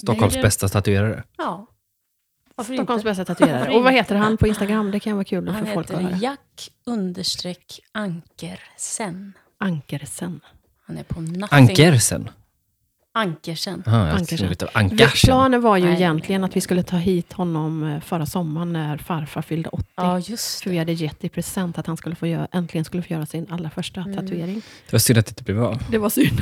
[SPEAKER 5] Stockholms
[SPEAKER 1] Nej, det-
[SPEAKER 5] bästa tatuerare.
[SPEAKER 4] Ja. Varför
[SPEAKER 2] Stockholms
[SPEAKER 4] inte?
[SPEAKER 2] bästa tatuerare. Och vad heter han på Instagram? Det kan vara kul
[SPEAKER 4] Han
[SPEAKER 2] för folk att höra.
[SPEAKER 4] heter Jack understreck Ankersen.
[SPEAKER 2] Ankersen.
[SPEAKER 4] Han är på
[SPEAKER 1] Ah,
[SPEAKER 4] nothing.
[SPEAKER 5] Ankersen.
[SPEAKER 4] Ankersen.
[SPEAKER 5] Ah, jag
[SPEAKER 2] Ankersen.
[SPEAKER 5] Ankersen. Lite av
[SPEAKER 2] Vi-
[SPEAKER 5] Ankersen.
[SPEAKER 2] Planen var ju
[SPEAKER 4] Nej, nej,
[SPEAKER 2] egentligen att vi skulle ta hit honom eh, förra sommaren när farfar fyllde 80.
[SPEAKER 4] Ja, just
[SPEAKER 2] För
[SPEAKER 4] det.
[SPEAKER 2] vi hade gett i present att han skulle få göra, äntligen skulle få göra sin allra första
[SPEAKER 4] Mm.
[SPEAKER 2] tatuering.
[SPEAKER 5] Det var synd att det inte blev av.
[SPEAKER 2] Det var (laughs) synd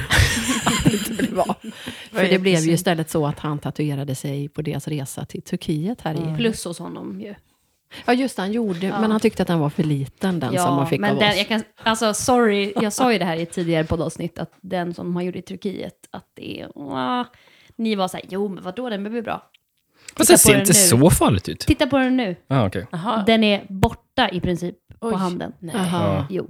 [SPEAKER 2] att det inte blev av. För det
[SPEAKER 4] jättesynd.
[SPEAKER 2] blev ju istället så att han tatuerade sig på deras resa till Turkiet här i...
[SPEAKER 1] Plus hos honom ju.
[SPEAKER 2] Ja, just det, han gjorde. Men han tyckte att den var för liten, den som man fick
[SPEAKER 1] men
[SPEAKER 2] av
[SPEAKER 1] den,
[SPEAKER 2] oss.
[SPEAKER 1] jag kan, alltså sorry, jag sa ju det här i ett tidigare poddavsnitt, att den som man gjorde i Turkiet, att det är... Åh, ni var så här, jo men vadå, den blir bra.
[SPEAKER 5] Fast det
[SPEAKER 1] på
[SPEAKER 5] ser
[SPEAKER 1] den
[SPEAKER 5] inte
[SPEAKER 1] nu.
[SPEAKER 5] så farligt ut.
[SPEAKER 1] Titta på den nu.
[SPEAKER 5] Ah, okej.
[SPEAKER 4] Jaha.
[SPEAKER 1] Den är borta i princip på
[SPEAKER 4] Oj.
[SPEAKER 1] handen.
[SPEAKER 4] Nej.
[SPEAKER 2] Aha.
[SPEAKER 5] Ja.
[SPEAKER 1] Jo.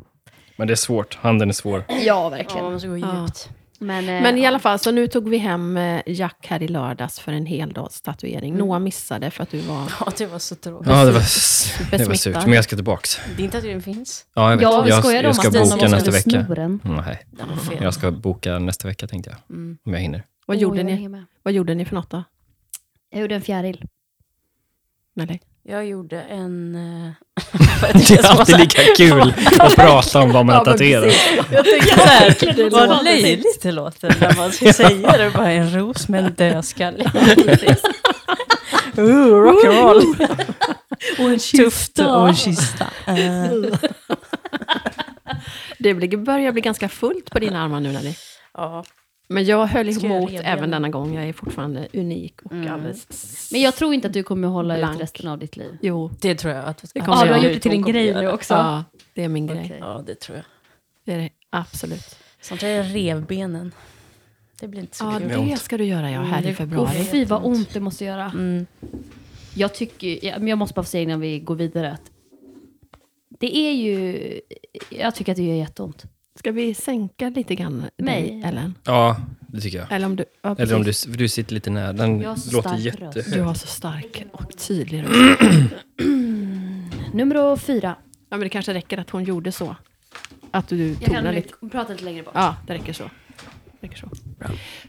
[SPEAKER 5] Men det är svårt. Handen är svår.
[SPEAKER 1] Ja,
[SPEAKER 4] Ja, man måste gå
[SPEAKER 2] Ja.
[SPEAKER 4] djupt.
[SPEAKER 1] Men, eh,
[SPEAKER 2] Men i alla fall, så nu tog vi hem eh, Jack här i lördags för en heldags tatuering. Noah missade för att du var...
[SPEAKER 4] Ja, det var så tråkigt.
[SPEAKER 5] Ja, Ah, det var, det var
[SPEAKER 2] Besmittad.
[SPEAKER 5] surt. Men jag ska tillbaks.
[SPEAKER 4] Din tatuering finns.
[SPEAKER 5] Ja, jag vet.
[SPEAKER 1] ja, vi
[SPEAKER 5] jag,
[SPEAKER 1] skojade
[SPEAKER 5] jag,
[SPEAKER 1] om
[SPEAKER 5] ska
[SPEAKER 1] att den som
[SPEAKER 5] boka
[SPEAKER 1] skulle
[SPEAKER 5] nästa vecka. Mm,
[SPEAKER 1] sno den.
[SPEAKER 5] Nej,
[SPEAKER 4] Den var fel.
[SPEAKER 5] jag ska boka nästa vecka tänkte jag.
[SPEAKER 4] Mm.
[SPEAKER 5] Om jag hinner.
[SPEAKER 2] Vad, gjorde
[SPEAKER 1] Åh, jag
[SPEAKER 2] ni?
[SPEAKER 1] hänger med.
[SPEAKER 2] Vad gjorde ni för något då?
[SPEAKER 1] Jag gjorde en fjäril.
[SPEAKER 2] Nelly?
[SPEAKER 4] Jag gjorde en...
[SPEAKER 5] (laughs)
[SPEAKER 4] eh, (laughs)
[SPEAKER 5] Det är alltid lika kul att prata om vad man har tatuerat.
[SPEAKER 4] Jag tänkte så här, det
[SPEAKER 1] låter
[SPEAKER 4] vad löjligt det låter när man ska säga det. Bara en ros med en dödskalle. (laughs) Ooh, rock'n'roll. (laughs) och en kista. Tufft och en kista. Eh,
[SPEAKER 2] Det blir- börjar bli ganska fullt på dina armar nu Nelly.
[SPEAKER 4] (laughs) ja.
[SPEAKER 2] Men jag Mm. höll
[SPEAKER 4] Ska jag
[SPEAKER 2] emot
[SPEAKER 4] reda
[SPEAKER 2] även
[SPEAKER 4] benen?
[SPEAKER 2] denna gång. Jag är fortfarande unik och alldeles...
[SPEAKER 1] Men jag tror inte att du kommer att hålla
[SPEAKER 2] Blank.
[SPEAKER 1] ut resten av ditt liv.
[SPEAKER 2] Jo,
[SPEAKER 4] Det tror jag att
[SPEAKER 2] Det
[SPEAKER 4] att
[SPEAKER 2] kommer
[SPEAKER 1] Ja,
[SPEAKER 2] jag
[SPEAKER 1] du har
[SPEAKER 2] göra.
[SPEAKER 1] gjort det till en
[SPEAKER 4] hon kommer
[SPEAKER 1] grej
[SPEAKER 4] göra
[SPEAKER 1] nu
[SPEAKER 4] det.
[SPEAKER 1] också.
[SPEAKER 2] ja, det är min grej.
[SPEAKER 1] Okej.
[SPEAKER 4] Ja, det tror jag.
[SPEAKER 2] Det är det absolut.
[SPEAKER 4] Samtidigt revbenen. Det blir inte så
[SPEAKER 2] Ja,
[SPEAKER 4] kul.
[SPEAKER 5] är
[SPEAKER 2] det
[SPEAKER 5] ont.
[SPEAKER 2] ska du göra ja, här
[SPEAKER 4] Mm,
[SPEAKER 2] i
[SPEAKER 4] det-
[SPEAKER 1] Åh,
[SPEAKER 2] februari.
[SPEAKER 4] Uff.
[SPEAKER 1] fy vad ont det måste göra.
[SPEAKER 4] Mm.
[SPEAKER 1] Jag tycker, ja, men jag måste bara få säga innan vi går vidare att det är ju, jag tycker att det gör jätteont.
[SPEAKER 2] Ska vi sänka lite grann dig,
[SPEAKER 1] Mig?
[SPEAKER 2] Ellen?
[SPEAKER 5] Ja, det tycker jag.
[SPEAKER 2] Eller om du... Ja,
[SPEAKER 5] Eller om
[SPEAKER 2] precis.
[SPEAKER 5] du, för du sitter lite nära. Den
[SPEAKER 1] Jag har så
[SPEAKER 5] låter
[SPEAKER 1] stark
[SPEAKER 5] jättehög.
[SPEAKER 1] röst.
[SPEAKER 2] Du har så stark och tydlig röst.
[SPEAKER 1] Nummer fyra.
[SPEAKER 2] Ja, men det kanske räcker att hon gjorde så. Att du
[SPEAKER 1] Jag
[SPEAKER 2] tonade
[SPEAKER 1] kan
[SPEAKER 2] lite.
[SPEAKER 1] prata lite längre bort.
[SPEAKER 2] Ja, det räcker så. Det räcker så.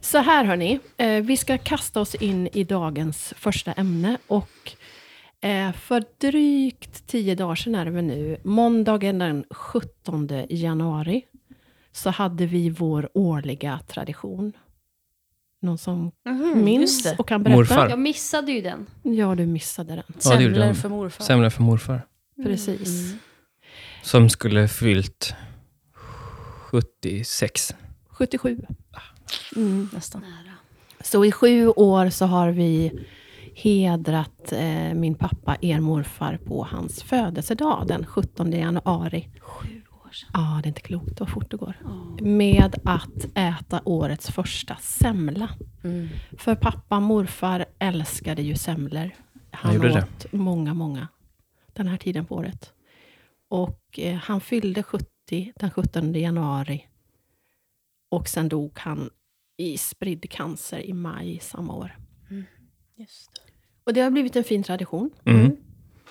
[SPEAKER 2] så här hörni, eh, vi ska kasta oss in i dagens första ämne. Och eh, för drygt tio dagar sedan är det väl nu, måndagen den 17 januari, så hade vi vår årliga tradition. Någon som minns
[SPEAKER 4] Mhm, Mm, just det.
[SPEAKER 2] och kan berätta?
[SPEAKER 5] Morfar.
[SPEAKER 1] Jag missade ju den.
[SPEAKER 2] Ja, du missade den.
[SPEAKER 5] Ja, det gjorde
[SPEAKER 4] Semlor
[SPEAKER 5] den.
[SPEAKER 4] för morfar.
[SPEAKER 5] Semla för morfar.
[SPEAKER 4] Mm.
[SPEAKER 2] Precis.
[SPEAKER 5] Som skulle fyllt 76.
[SPEAKER 2] 77. Mm.
[SPEAKER 4] Nästan.
[SPEAKER 2] Så i sju år så har vi hedrat eh, min pappa, er morfar, på hans födelsedag den 17 januari.
[SPEAKER 1] Sju år sedan.
[SPEAKER 2] Ja, det är inte klokt vad fort det går.
[SPEAKER 1] Ja.
[SPEAKER 2] Med att äta årets första semla.
[SPEAKER 4] Mm.
[SPEAKER 2] För pappa, morfar älskade ju semlor. Han
[SPEAKER 5] gjorde det.
[SPEAKER 2] åt många, många den här tiden på året. Och eh, han fyllde 70 den 17 januari. Och sen dog han i spridd cancer i maj samma år.
[SPEAKER 4] Just det.
[SPEAKER 2] Och det har blivit en fin tradition
[SPEAKER 5] Mm.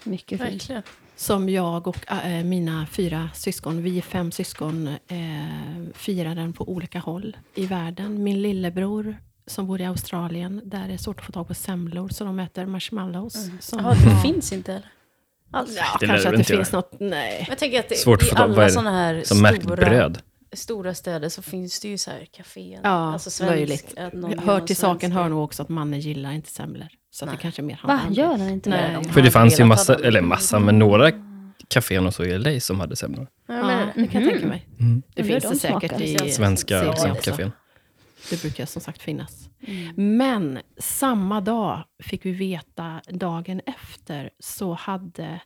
[SPEAKER 1] Mycket fint.
[SPEAKER 4] Verkligen.
[SPEAKER 2] som jag och eh, mina fyra syskon, vi är fem syskon, eh, firar den på olika håll i världen. Min lillebror som bor i Australien, där är det svårt att få tag på semlor, så de äter marshmallows. Som,
[SPEAKER 4] Mm. Ja, det finns inte heller. Alls.
[SPEAKER 2] ja,
[SPEAKER 5] Det lär
[SPEAKER 2] kanske
[SPEAKER 5] du
[SPEAKER 2] att det
[SPEAKER 5] inte
[SPEAKER 2] finns
[SPEAKER 5] göra.
[SPEAKER 2] något, nej.
[SPEAKER 4] Jag tänker att det,
[SPEAKER 5] Svårt att
[SPEAKER 4] i
[SPEAKER 5] få tag- vad är
[SPEAKER 4] alla
[SPEAKER 5] det
[SPEAKER 4] sådana här
[SPEAKER 5] Som märkt
[SPEAKER 4] stora,
[SPEAKER 5] bröd.
[SPEAKER 4] stora städer så finns det ju så här kaféer. Alltså
[SPEAKER 2] Ja,
[SPEAKER 4] svensk-
[SPEAKER 2] löjligt.
[SPEAKER 4] att någon gör
[SPEAKER 2] Hör
[SPEAKER 4] någon
[SPEAKER 2] till saken
[SPEAKER 4] svensk-
[SPEAKER 2] hör nog också att mannen gillar inte semlor. Så att det
[SPEAKER 4] Nej.
[SPEAKER 2] kanske mer
[SPEAKER 1] Va,
[SPEAKER 2] handlar om
[SPEAKER 1] gör
[SPEAKER 2] det.
[SPEAKER 1] den inte
[SPEAKER 2] Nej.
[SPEAKER 1] det?
[SPEAKER 5] För det
[SPEAKER 4] hade
[SPEAKER 5] fanns ju
[SPEAKER 4] velat
[SPEAKER 5] massa,
[SPEAKER 4] ha den.
[SPEAKER 5] eller massa, men några kaféer och så i LA som hade semlor.
[SPEAKER 4] Ja,
[SPEAKER 2] Ja,
[SPEAKER 4] men,
[SPEAKER 2] det kan jag tänka mig.
[SPEAKER 5] Mm.
[SPEAKER 2] Det
[SPEAKER 1] Undrar
[SPEAKER 2] finns
[SPEAKER 1] hur
[SPEAKER 2] det
[SPEAKER 1] de
[SPEAKER 2] säkert
[SPEAKER 1] smakar.
[SPEAKER 2] i
[SPEAKER 5] Sverige
[SPEAKER 4] Ja,
[SPEAKER 2] Sverige
[SPEAKER 4] det är
[SPEAKER 2] också.
[SPEAKER 5] kafén.
[SPEAKER 2] Det brukar som sagt finnas.
[SPEAKER 1] Mm.
[SPEAKER 2] Men samma dag fick vi veta, dagen efter, så hade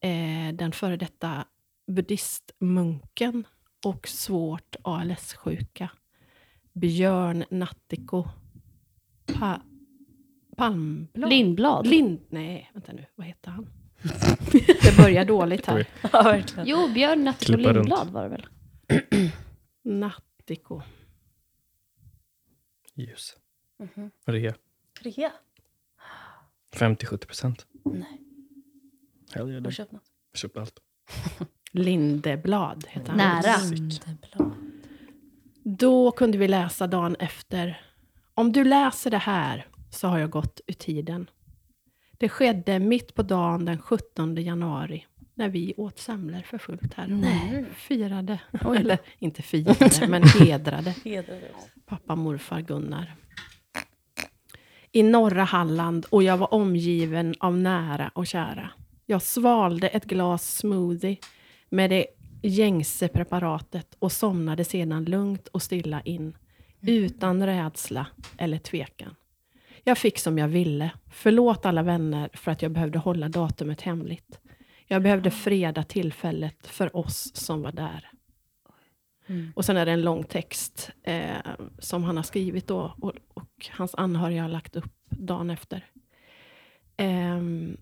[SPEAKER 2] eh, den före detta buddhistmunken och svårt ALS-sjuka Björn Nattiko pa, Palmblad?
[SPEAKER 1] Lindblad.
[SPEAKER 2] Lind... Nej, vänta nu. Vad heter han? (laughs) Det börjar
[SPEAKER 1] (laughs)
[SPEAKER 2] dåligt här.
[SPEAKER 5] Oj.
[SPEAKER 4] ja, verkligen.
[SPEAKER 1] Jo, Björn Nattiko
[SPEAKER 5] Klippa runt.
[SPEAKER 1] Lindblad var det väl?
[SPEAKER 2] Nattiko.
[SPEAKER 5] Ljus.
[SPEAKER 4] Mhm.
[SPEAKER 5] Rea.
[SPEAKER 4] Rea.
[SPEAKER 5] 50-70 procent.
[SPEAKER 4] Nej,
[SPEAKER 5] Hellre
[SPEAKER 4] har du
[SPEAKER 5] det.
[SPEAKER 4] köpt något?
[SPEAKER 5] Köp allt.
[SPEAKER 2] Lindeblad heter han.
[SPEAKER 1] Nära.
[SPEAKER 4] Lindeblad.
[SPEAKER 2] Då kunde vi läsa dagen efter. Om du läser det här så har jag gått ur tiden. Det skedde mitt på dagen den 17 januari när vi åt semlor för fullt här. Nej. Firade, eller inte firade, men hedrade
[SPEAKER 4] Hedrar det.
[SPEAKER 2] pappa och morfar Gunnar. I norra Halland och jag var omgiven av nära och kära. Jag svalde ett glas smoothie med det gängse preparatet och somnade sedan lugnt och stilla in. Utan rädsla eller tvekan. Jag fick som jag ville. Förlåt alla vänner för att jag behövde hålla datumet hemligt. Jag behövde freda tillfället för oss som var där. Och sen är det en lång text eh, som han har skrivit då och, och hans anhöriga har lagt upp dagen efter. Ehm,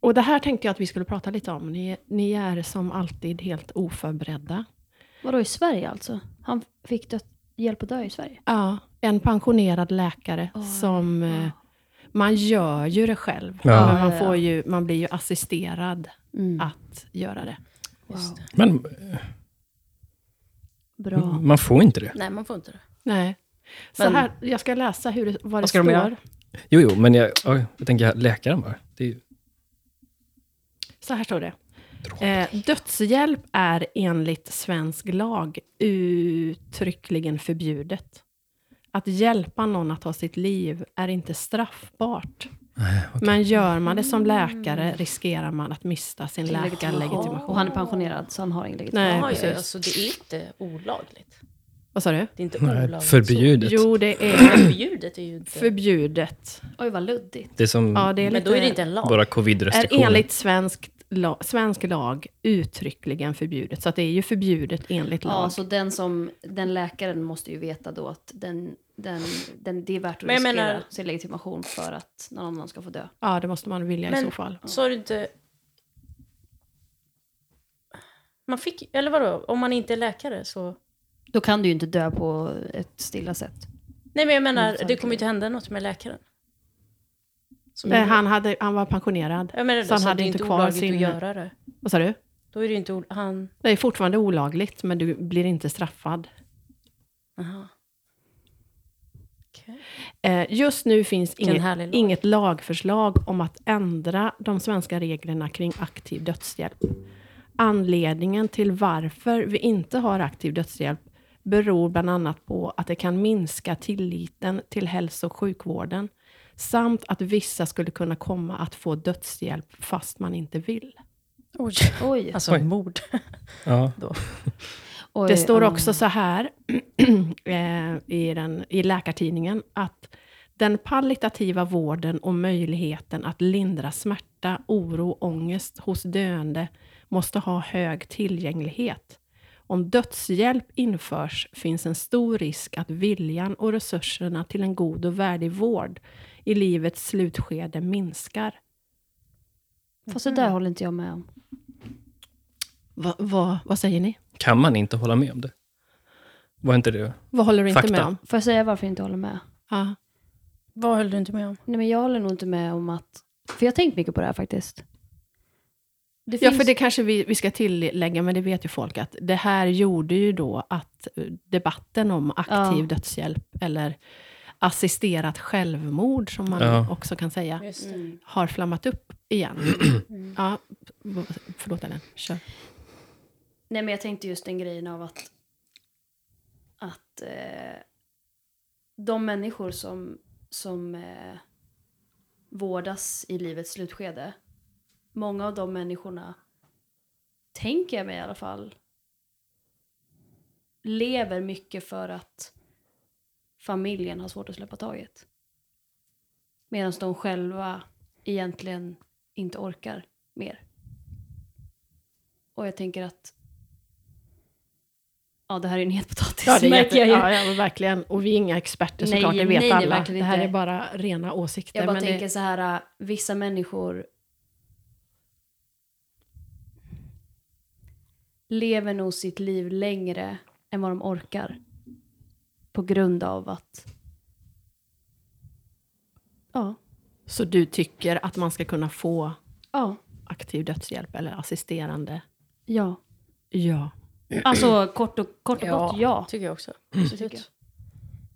[SPEAKER 2] och det här tänkte jag att vi skulle prata lite om. Ni, ni är som alltid helt oförberedda.
[SPEAKER 1] Vadå i Sverige alltså? Han fick dö- hjälp att dö i Sverige?
[SPEAKER 2] Ja, en pensionerad läkare
[SPEAKER 1] Oj,
[SPEAKER 2] som... eh,
[SPEAKER 1] ja.
[SPEAKER 2] Man gör ju det själv,
[SPEAKER 5] Ja.
[SPEAKER 2] men
[SPEAKER 1] Ja,
[SPEAKER 2] man,
[SPEAKER 1] ja,
[SPEAKER 2] får ju, man blir ju assisterad
[SPEAKER 1] Mm.
[SPEAKER 2] att göra det.
[SPEAKER 1] Wow.
[SPEAKER 5] Men
[SPEAKER 1] Bra.
[SPEAKER 5] man får inte det.
[SPEAKER 4] Nej, man får inte det.
[SPEAKER 2] Nej. Så
[SPEAKER 4] Men-
[SPEAKER 2] här, jag ska läsa hur det, vad det
[SPEAKER 4] ska
[SPEAKER 2] står.
[SPEAKER 4] de göra?
[SPEAKER 5] Jo, jo, men jag, oj, jag tänker läkaren bara. Det är ju
[SPEAKER 2] Så här står det.
[SPEAKER 5] tråkigt.
[SPEAKER 2] Eh, dödshjälp är enligt svensk lag uttryckligen förbjudet. Att hjälpa någon att ta sitt liv är inte straffbart.
[SPEAKER 5] Nej, okej.
[SPEAKER 2] Men gör man det som läkare riskerar man att mista sin
[SPEAKER 1] Och
[SPEAKER 2] läkarlegitimation.
[SPEAKER 1] han är pensionerad så han har ingen legitimation.
[SPEAKER 2] Nej,
[SPEAKER 4] Jaha, ja,
[SPEAKER 2] precis.
[SPEAKER 4] alltså, det är inte olagligt.
[SPEAKER 2] Vad sa du?
[SPEAKER 4] Det är inte
[SPEAKER 5] Nej,
[SPEAKER 4] olagligt.
[SPEAKER 5] förbjudet.
[SPEAKER 2] Jo, det är
[SPEAKER 4] Förbjudet är ju inte...
[SPEAKER 2] förbjudet.
[SPEAKER 1] Oj vad luddigt.
[SPEAKER 5] Det är som
[SPEAKER 2] Ja, det är lite,
[SPEAKER 4] Men då är det inte en lag.
[SPEAKER 5] våra
[SPEAKER 2] är
[SPEAKER 5] covid-restriktioner.
[SPEAKER 2] enligt svensk, la, svensk lag uttryckligen förbjudet. Så att det är ju förbjudet enligt lag.
[SPEAKER 1] Ja, så den, som, den läkaren måste ju veta då att den, den, den, det är värt att
[SPEAKER 4] Men jag
[SPEAKER 1] riskera
[SPEAKER 4] menar-
[SPEAKER 1] sin legitimation för att någon annan ska få dö.
[SPEAKER 2] Ja, det måste man vilja i
[SPEAKER 4] Men-
[SPEAKER 2] så fall.
[SPEAKER 4] Sa du inte... Man fick... Eller vadå? Om man inte är läkare så...
[SPEAKER 1] Då kan du ju inte dö på ett stilla sätt.
[SPEAKER 4] Nej, men jag menar, det kommer ju inte hända något med läkaren. Som
[SPEAKER 2] Nej,
[SPEAKER 4] gjorde-
[SPEAKER 2] Eh, han, hade, han var pensionerad.
[SPEAKER 4] Jag menar,
[SPEAKER 2] så han
[SPEAKER 4] så
[SPEAKER 2] hade
[SPEAKER 4] alltså, det är
[SPEAKER 2] inte
[SPEAKER 4] inte
[SPEAKER 2] kvar
[SPEAKER 4] olagligt
[SPEAKER 2] sin-
[SPEAKER 4] att göra det.
[SPEAKER 2] Vad sa du?
[SPEAKER 4] Då är det ju inte... ol- Han...
[SPEAKER 2] Det är fortfarande olagligt, men du blir inte straffad.
[SPEAKER 4] Aha. Okej.
[SPEAKER 2] Eh, Just nu finns
[SPEAKER 4] Vilken
[SPEAKER 2] inget,
[SPEAKER 4] härlig lag.
[SPEAKER 2] inget lagförslag om att ändra de svenska reglerna kring aktiv dödshjälp. Anledningen till varför vi inte har aktiv dödshjälp beror bland annat på att det kan minska tilliten till hälso och sjukvården samt att vissa skulle kunna komma att få dödshjälp fast man inte vill.
[SPEAKER 4] Oj.
[SPEAKER 1] Oj.
[SPEAKER 4] (laughs) Alltså
[SPEAKER 5] Oj.
[SPEAKER 4] mord. (laughs)
[SPEAKER 5] Ja.
[SPEAKER 1] Oj,
[SPEAKER 2] Det står
[SPEAKER 1] ja.
[SPEAKER 2] också så här (clears throat) eh, i, den, i Läkartidningen att den palliativa vården och möjligheten att lindra smärta, oro och ångest hos döende måste ha hög tillgänglighet. Om dödshjälp införs finns en stor risk att viljan och resurserna till en god och värdig vård i livets slutskede minskar.
[SPEAKER 1] Fast det där håller inte jag med om.
[SPEAKER 2] Va, va, vad säger ni?
[SPEAKER 5] Kan man inte hålla med om det? Var inte det?
[SPEAKER 2] Vad håller du inte
[SPEAKER 5] Fakta.
[SPEAKER 2] med om?
[SPEAKER 1] Får jag säga varför jag inte håller med?
[SPEAKER 2] Ja.
[SPEAKER 4] Vad höll du inte med om?
[SPEAKER 1] Nej, men jag håller nog inte med om att... För jag har tänkt mycket på det här faktiskt. Det
[SPEAKER 2] Ja, för det kanske vi, vi ska tillägga, men det vet ju folk, att det här gjorde ju då att eh, debatten om aktiv
[SPEAKER 1] Ja.
[SPEAKER 2] dödshjälp, eller assisterat självmord, som man
[SPEAKER 5] Ja.
[SPEAKER 2] också kan säga,
[SPEAKER 4] Just det.
[SPEAKER 1] Mm.
[SPEAKER 2] har flammat upp igen. Ja, v- förlåt Ellen, kör.
[SPEAKER 1] Nej, men jag tänkte just den grejen av att... Att eh, de människor som, som eh, vårdas i livets slutskede, många av de människorna, tänker jag mig i alla fall, lever mycket för att familjen har svårt att släppa taget. Medan de själva egentligen inte orkar mer. Och jag tänker att... Ja, det här är ju en het potatis,
[SPEAKER 2] Ja, det är
[SPEAKER 1] märker
[SPEAKER 2] jätte,
[SPEAKER 1] jag ju.
[SPEAKER 2] ja, ja, men verkligen. Och vi är inga experter
[SPEAKER 1] Nej,
[SPEAKER 2] såklart, det vet
[SPEAKER 1] nej, nej,
[SPEAKER 2] alla.
[SPEAKER 1] verkligen
[SPEAKER 2] Det här
[SPEAKER 1] inte.
[SPEAKER 2] är bara rena åsikter.
[SPEAKER 1] Jag bara
[SPEAKER 2] men det-
[SPEAKER 1] tänker så här, äh, vissa människor lever nog sitt liv längre än vad de orkar. På grund av att... Ja.
[SPEAKER 2] Så du tycker att man ska kunna få
[SPEAKER 1] Ja.
[SPEAKER 2] aktiv dödshjälp, eller assisterande?
[SPEAKER 1] Ja.
[SPEAKER 2] Ja.
[SPEAKER 1] Alltså kort och, kort och gott, ja.
[SPEAKER 4] tycker jag också.
[SPEAKER 1] Tycker jag.
[SPEAKER 4] Absolut.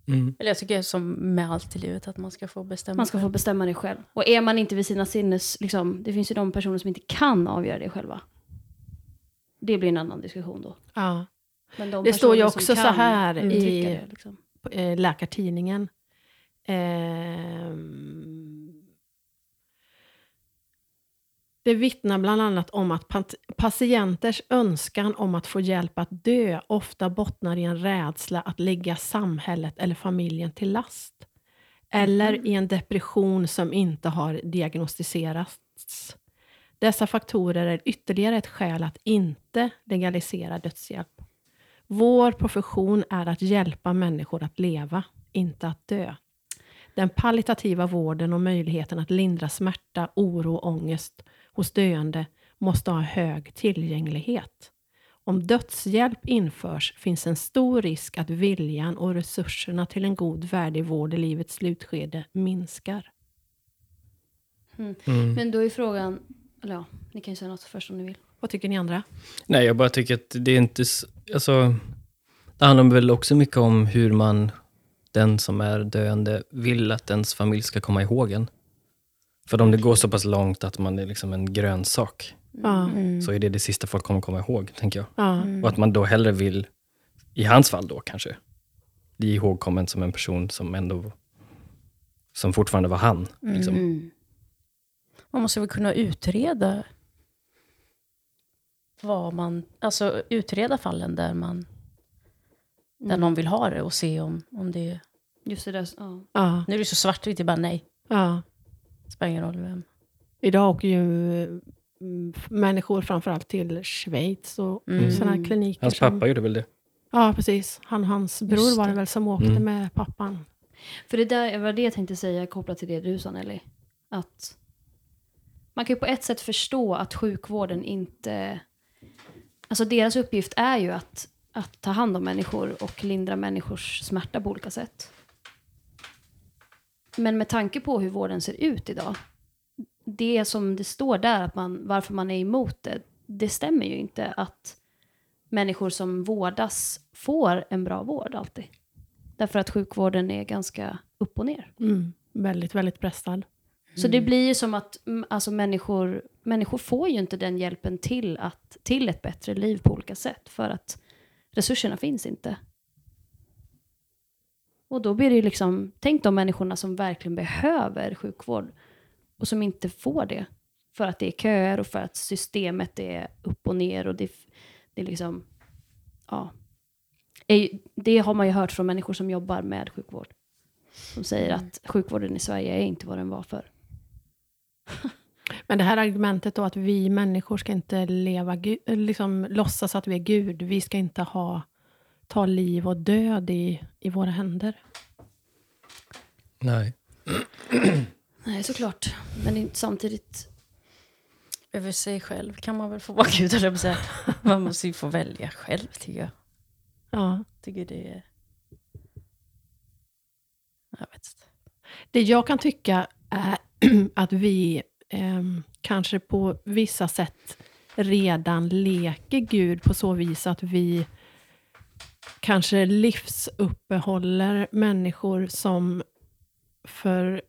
[SPEAKER 5] Mm.
[SPEAKER 4] Eller jag tycker som med allt i livet, att man ska få bestämma.
[SPEAKER 1] Man ska få bestämma det själv. Och är man inte vid sina sinnes... Liksom, det finns ju de personer som inte kan avgöra det själva. Det blir en annan diskussion då.
[SPEAKER 2] ja.
[SPEAKER 1] Men de
[SPEAKER 2] Det står ju
[SPEAKER 1] personer som
[SPEAKER 2] också så
[SPEAKER 1] kan
[SPEAKER 2] här i-
[SPEAKER 1] uttrycka det, liksom.
[SPEAKER 2] på, eh, Läkartidningen. Ehm, det vittnar bland annat om att pat- patienters önskan om att få hjälp att dö ofta bottnar i en rädsla att ligga samhället eller familjen till last. Eller i en depression som inte har diagnostiserats. Dessa faktorer är ytterligare ett skäl att inte legalisera dödshjälp. Vår profession är att hjälpa människor att leva, inte att dö. den palliativa vården och möjligheten att lindra smärta, oro och ångest hos döende måste ha hög tillgänglighet. Om dödshjälp införs finns en stor risk att viljan och resurserna till en god värdig vård i livets slutskede minskar.
[SPEAKER 1] Men då är frågan, eller ja, ni kan ju säga något först om ni vill.
[SPEAKER 2] Vad tycker ni andra?
[SPEAKER 5] Nej, jag bara tycker att det är inte... s- Alltså, det handlar väl också mycket om hur man, den som är döende, vill att ens familj ska komma ihåg en. För om det går så pass långt att man är liksom en grönsak,
[SPEAKER 2] Ja,
[SPEAKER 5] så är det det sista folk kommer komma ihåg, tänker jag.
[SPEAKER 2] ja,
[SPEAKER 5] Och att man då hellre vill, i hans fall då kanske, bli ihågkommen som en person som ändå, som fortfarande var han. Liksom.
[SPEAKER 4] Man måste väl kunna utreda vad man, alltså utreda fallen där man, där någon vill ha det och se om, om det
[SPEAKER 1] Just det där, ja.
[SPEAKER 2] ja,
[SPEAKER 4] Nu är det så svartvitt, det är bara nej.
[SPEAKER 2] ja.
[SPEAKER 4] Det spelar ingen roll vem.
[SPEAKER 2] Idag åker ju mm, människor framförallt till Schweiz och
[SPEAKER 4] Mm.
[SPEAKER 2] sådana här kliniker.
[SPEAKER 5] Hans
[SPEAKER 2] som-
[SPEAKER 5] pappa gjorde väl det.
[SPEAKER 2] Ja, precis. Han och hans bror
[SPEAKER 4] Just
[SPEAKER 2] var
[SPEAKER 4] det.
[SPEAKER 2] det väl som åkte
[SPEAKER 5] Mm.
[SPEAKER 2] med pappan.
[SPEAKER 1] För det där var det jag tänkte säga kopplat till det du sa Nelly. Att man kan ju på ett sätt förstå att sjukvården inte... Alltså deras uppgift är ju att, att ta hand om människor och lindra människors smärta på olika sätt. Men med tanke på hur vården ser ut idag. Det som det står där, att man, varför man är emot det, det stämmer ju inte att människor som vårdas får en bra vård alltid. Därför att sjukvården är ganska upp och ner.
[SPEAKER 2] Mm. Väldigt, väldigt pressad.
[SPEAKER 1] Så det blir ju som att mm, alltså, människor, människor får ju inte den hjälpen till, att, till ett bättre liv på olika sätt. För att resurserna finns inte. Och då blir det ju liksom, tänk de människorna som verkligen behöver sjukvård och som inte får det. För att det är köer och för att systemet är upp och ner och det, det är liksom, ja. Är ju- Det har man ju hört från människor som jobbar med sjukvård. Som säger att sjukvården i Sverige är inte vad den var förr.
[SPEAKER 2] Men det här argumentet då att vi människor ska inte leva, gu- eh, liksom låtsas att vi är Gud. Vi ska inte ha, ta liv och död i, i våra händer.
[SPEAKER 5] Nej.
[SPEAKER 1] Nej, såklart. Men det är inte samtidigt...
[SPEAKER 4] Över sig själv kan man väl få vara (laughs) gud, eller säga. Man måste ju få välja själv, tycker jag.
[SPEAKER 2] Ja.
[SPEAKER 4] Tycker det är... Jag vet inte.
[SPEAKER 2] Det jag kan tycka är (clears throat) att vi ehm, kanske på vissa sätt redan leker Gud på så vis att vi kanske livsuppehåller människor som för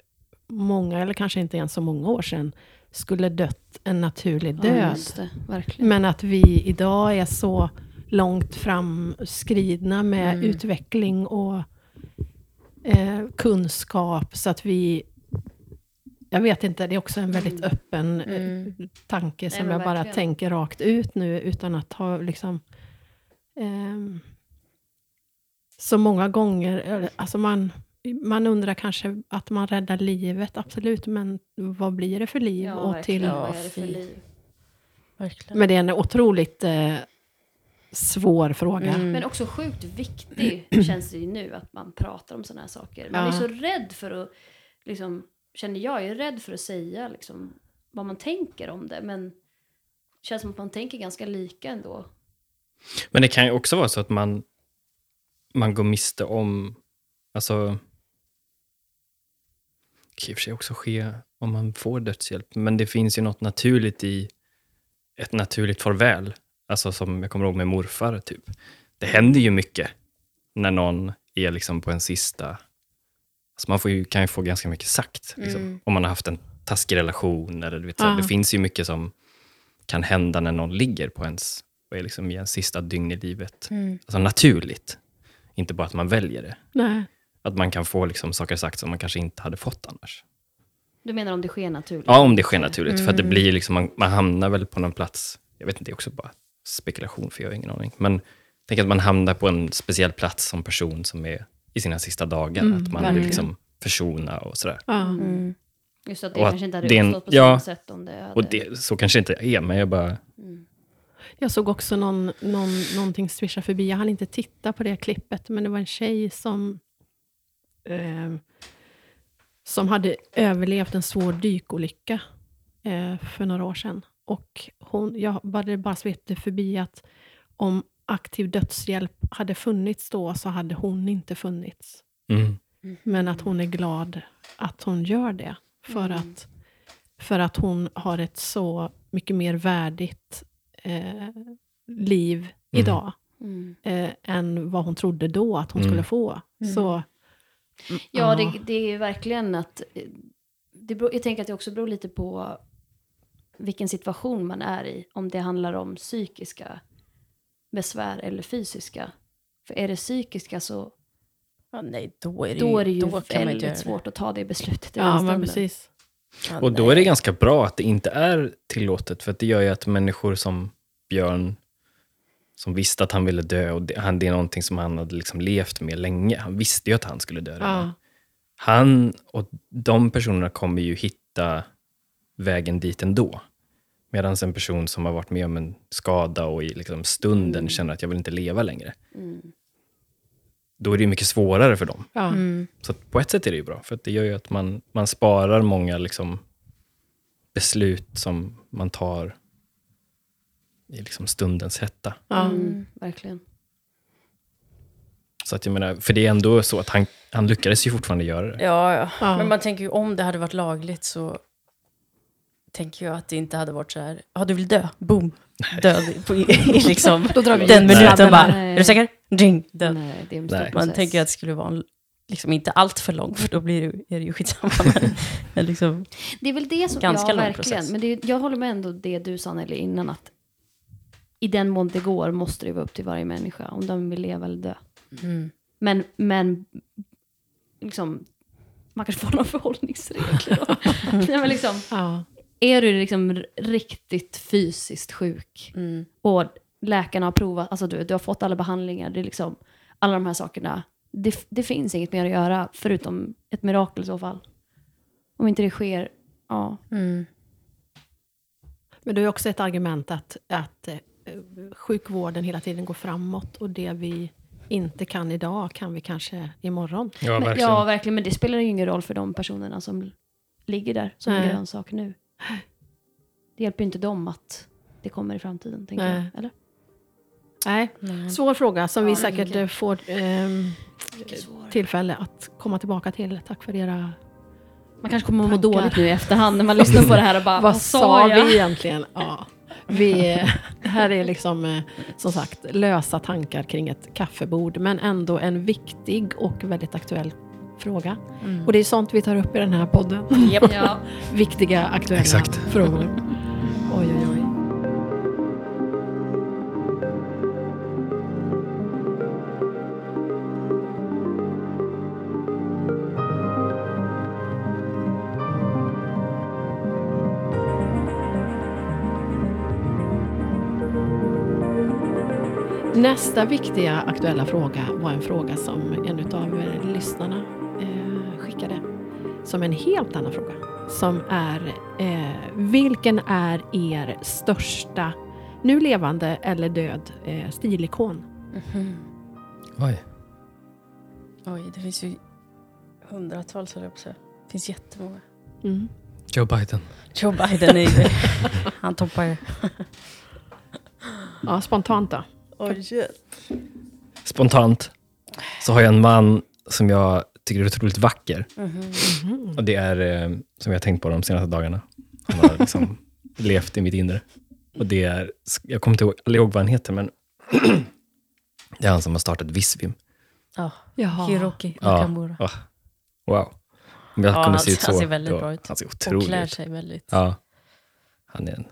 [SPEAKER 2] många, eller kanske inte ens så många år sedan, skulle dött en naturlig
[SPEAKER 1] Ja,
[SPEAKER 2] död.
[SPEAKER 1] just det, verkligen.
[SPEAKER 2] Men att vi idag är så långt framskridna med
[SPEAKER 1] Mm.
[SPEAKER 2] utveckling och eh, kunskap så att vi... Jag vet inte, det är också en väldigt öppen eh, tanke som
[SPEAKER 1] Mm. men
[SPEAKER 2] jag bara
[SPEAKER 1] verkligen.
[SPEAKER 2] tänker rakt ut nu utan att ha liksom... ehm, så många gånger, eller, alltså man, man undrar kanske att man räddar livet, absolut, men vad blir det för liv?
[SPEAKER 1] ja,
[SPEAKER 2] och till,
[SPEAKER 1] verkligen. Vad är det för
[SPEAKER 4] Ja, fy.
[SPEAKER 1] liv?
[SPEAKER 4] Verkligen.
[SPEAKER 2] men det är en otroligt eh, svår fråga.
[SPEAKER 5] Mm.
[SPEAKER 4] Mm.
[SPEAKER 1] Men också sjukt viktig (clears throat) känns det ju nu att man pratar om sådana här saker. Man är
[SPEAKER 2] Ja.
[SPEAKER 1] så rädd för att, liksom, känner jag, är rädd för att säga liksom, vad man tänker om det. Men det känns som att man tänker ganska lika ändå.
[SPEAKER 5] Men det kan ju också vara så att man, man går miste om... Alltså, det kan i och för sig också ske om man får dödshjälp, men det finns ju något naturligt i ett naturligt farväl. Alltså som jag kommer ihåg med morfar, typ. Det händer ju mycket när någon är liksom på en sista... Alltså man får ju, kan ju få ganska mycket sagt, liksom, om man har haft en taskig relation. Eller, du vet, så här,
[SPEAKER 2] Ja.
[SPEAKER 5] Det finns ju mycket som kan hända när någon ligger på ens, och är liksom i ens sista dygn i livet. Alltså naturligt. Inte bara att man väljer det.
[SPEAKER 2] Nej.
[SPEAKER 5] Att man kan få liksom saker sagt som man kanske inte hade fått annars.
[SPEAKER 1] Du menar om det sker naturligt?
[SPEAKER 5] Ja, om det sker naturligt. För att det blir liksom, man, man hamnar väl på någon plats, jag vet inte, det är också bara spekulation för jag har ingen aning. Men tänk att man hamnar på en speciell plats som person som är i sina sista dagar. att man vill
[SPEAKER 4] verkligen.
[SPEAKER 5] liksom försona och sådär.
[SPEAKER 2] Ja.
[SPEAKER 1] Just att det
[SPEAKER 5] Och att
[SPEAKER 1] kanske inte
[SPEAKER 5] det
[SPEAKER 1] hade
[SPEAKER 5] är en-
[SPEAKER 1] uppstått på
[SPEAKER 5] ja.
[SPEAKER 1] samma sätt om det hade...
[SPEAKER 5] Och det, så kanske inte är, men jag bara...
[SPEAKER 2] Jag såg också någon, någon, någonting swisha förbi. Jag hann inte titta på det klippet, men det var en tjej som eh, som hade överlevt en svår dykolycka eh, för några år sedan. Och hon, jag bara, bara svepte förbi att om aktiv dödshjälp hade funnits då så hade hon inte funnits.
[SPEAKER 5] Mm.
[SPEAKER 2] Men att hon är glad att hon gör det. För,
[SPEAKER 4] Mm.
[SPEAKER 2] att, för att hon har ett så mycket mer värdigt eh, liv idag
[SPEAKER 4] Mm.
[SPEAKER 2] eh, än vad hon trodde då att hon
[SPEAKER 5] Mm.
[SPEAKER 2] skulle få. Så,
[SPEAKER 1] Ja,
[SPEAKER 2] Ja.
[SPEAKER 1] det, det är ju verkligen att... eh, Det beror, jag tänker att det också beror lite på vilken situation man är i. Om det handlar om psykiska besvär eller fysiska. För är det psykiska så
[SPEAKER 4] Ja, nej, då är det
[SPEAKER 1] då är det ju
[SPEAKER 4] då kan man inte göra
[SPEAKER 1] väldigt svårt att ta det beslutet i
[SPEAKER 2] ja,
[SPEAKER 1] den
[SPEAKER 2] men
[SPEAKER 1] stunden.
[SPEAKER 2] precis.
[SPEAKER 4] Ja,
[SPEAKER 5] Och då
[SPEAKER 4] nej.
[SPEAKER 5] är det ganska bra att det inte är tillåtet, för att det gör ju att människor som Björn, som visste att han ville dö, och det, han, det är någonting som han hade liksom levt med länge. Han visste ju att han skulle dö. redan.
[SPEAKER 2] Ja.
[SPEAKER 5] Han och de personerna kommer ju hitta vägen dit ändå. Medan en person som har varit med om en skada och i liksom stunden
[SPEAKER 4] Mm.
[SPEAKER 5] känner att jag vill inte leva längre. Då är det ju mycket svårare för dem.
[SPEAKER 2] Ja.
[SPEAKER 5] Så att på ett sätt är det ju bra, för att det gör ju att man, man sparar många liksom beslut som man tar i liksom stundens hetta.
[SPEAKER 2] Ja.
[SPEAKER 1] Mm, verkligen.
[SPEAKER 5] Så att jag menar, för det är ändå så att han, han lyckades ju fortfarande göra det.
[SPEAKER 4] Ja, ja.
[SPEAKER 2] Ja.
[SPEAKER 4] men man tänker ju om det hade varit lagligt så tänker jag att det inte hade varit så här, ja du vill dö, boom, död på, i, i
[SPEAKER 5] (laughs)
[SPEAKER 4] liksom
[SPEAKER 2] Då drar vi
[SPEAKER 4] den minuten
[SPEAKER 1] Nej.
[SPEAKER 4] bara,
[SPEAKER 1] Nej.
[SPEAKER 4] är du säker? Ding, död.
[SPEAKER 1] Nej, det är en
[SPEAKER 5] Nej.
[SPEAKER 1] stor
[SPEAKER 5] Man
[SPEAKER 4] Man
[SPEAKER 1] process.
[SPEAKER 4] tänker att det skulle vara en, liksom inte allt för lång, för då blir det, är det ju skitsamma. (laughs) Men, men liksom,
[SPEAKER 1] Det är väl det som,
[SPEAKER 4] Ganska
[SPEAKER 1] ja
[SPEAKER 4] lång
[SPEAKER 1] verkligen,
[SPEAKER 4] process.
[SPEAKER 1] men det, är- jag håller med ändå det du sa Nelly innan att i den mån det går måste det vara upp till varje människa om de vill leva eller dö.
[SPEAKER 4] Mm.
[SPEAKER 1] Men, men liksom, man kanske får några förhållningsregler då. Nej, men liksom,
[SPEAKER 2] Ja.
[SPEAKER 1] är du liksom r- riktigt fysiskt sjuk och läkarna har provat, alltså du, du har fått alla behandlingar, det är liksom, alla de här sakerna, det, det finns inget mer att göra förutom ett mirakel i så fall. Om inte det sker, ja.
[SPEAKER 2] Men det är också ett argument att, att eh, sjukvården hela tiden går framåt och det vi inte kan idag kan vi kanske imorgon.
[SPEAKER 5] Ja,
[SPEAKER 1] Men, ja, verkligen. Men det spelar ju ingen roll för de personerna som ligger där som
[SPEAKER 2] Nej.
[SPEAKER 1] gör en sak nu. Det hjälper ju inte dem att det kommer i framtiden, tänker
[SPEAKER 2] Nej.
[SPEAKER 1] jag. Eller?
[SPEAKER 2] Nej,
[SPEAKER 4] Mm.
[SPEAKER 2] svår fråga som vi
[SPEAKER 1] Mm. Ja,
[SPEAKER 2] säkert
[SPEAKER 1] mycket.
[SPEAKER 2] eh, får ehm, tillfälle att komma tillbaka till. Tack för era...
[SPEAKER 1] Man kanske kommer att må
[SPEAKER 2] Tankar.
[SPEAKER 1] dåligt nu i efterhand när man lyssnar på det här och bara, vad sa jag?
[SPEAKER 2] vi egentligen? Ja, vi, det här är liksom eh, som sagt lösa tankar kring ett kaffebord, men ändå en viktig och väldigt aktuell fråga.
[SPEAKER 1] Mm.
[SPEAKER 4] Mm.
[SPEAKER 2] Och det är sånt vi tar upp i den här podden.
[SPEAKER 1] (laughs) Ja. (laughs)
[SPEAKER 2] viktiga, aktuella
[SPEAKER 5] Exakt.
[SPEAKER 2] frågor. Oj, oj, oj. Nästa viktiga aktuella fråga var en fråga som en av lyssnarna eh, skickade som en helt annan fråga. Som är, eh, vilken är er största, nu levande eller död, eh, stilikon?
[SPEAKER 5] Oj.
[SPEAKER 4] Mm-hmm. Oj, det finns ju hundratals, höll jag på att säga. Det finns jättemånga.
[SPEAKER 1] Mm.
[SPEAKER 5] Joe Biden.
[SPEAKER 4] Joe Biden är ju... (laughs) Han toppar ju.
[SPEAKER 2] Ja, spontant då.
[SPEAKER 5] Spontant så har jag en man som jag tycker är otroligt vacker.
[SPEAKER 4] Mm-hmm.
[SPEAKER 5] Och det är, eh, som jag har tänkt på de senaste dagarna. Han
[SPEAKER 4] (laughs)
[SPEAKER 5] har liksom levt i mitt inre. Och det är, jag kommer inte ihåg, aldrig ihåg vad han heter, men (clears throat) det är han som har startat Visvim.
[SPEAKER 4] Ja,
[SPEAKER 2] Jaha.
[SPEAKER 4] Hiroki
[SPEAKER 5] Ja.
[SPEAKER 4] Nakamura.
[SPEAKER 5] Ah, Wow. Om jag
[SPEAKER 4] Ja, han-
[SPEAKER 5] kunde se ut så.
[SPEAKER 4] han ser väldigt
[SPEAKER 5] då-
[SPEAKER 4] bra ut.
[SPEAKER 5] Han ser
[SPEAKER 4] Och
[SPEAKER 5] otrolig
[SPEAKER 4] klär
[SPEAKER 5] ut.
[SPEAKER 4] sig väldigt...
[SPEAKER 5] Ja. Han är en,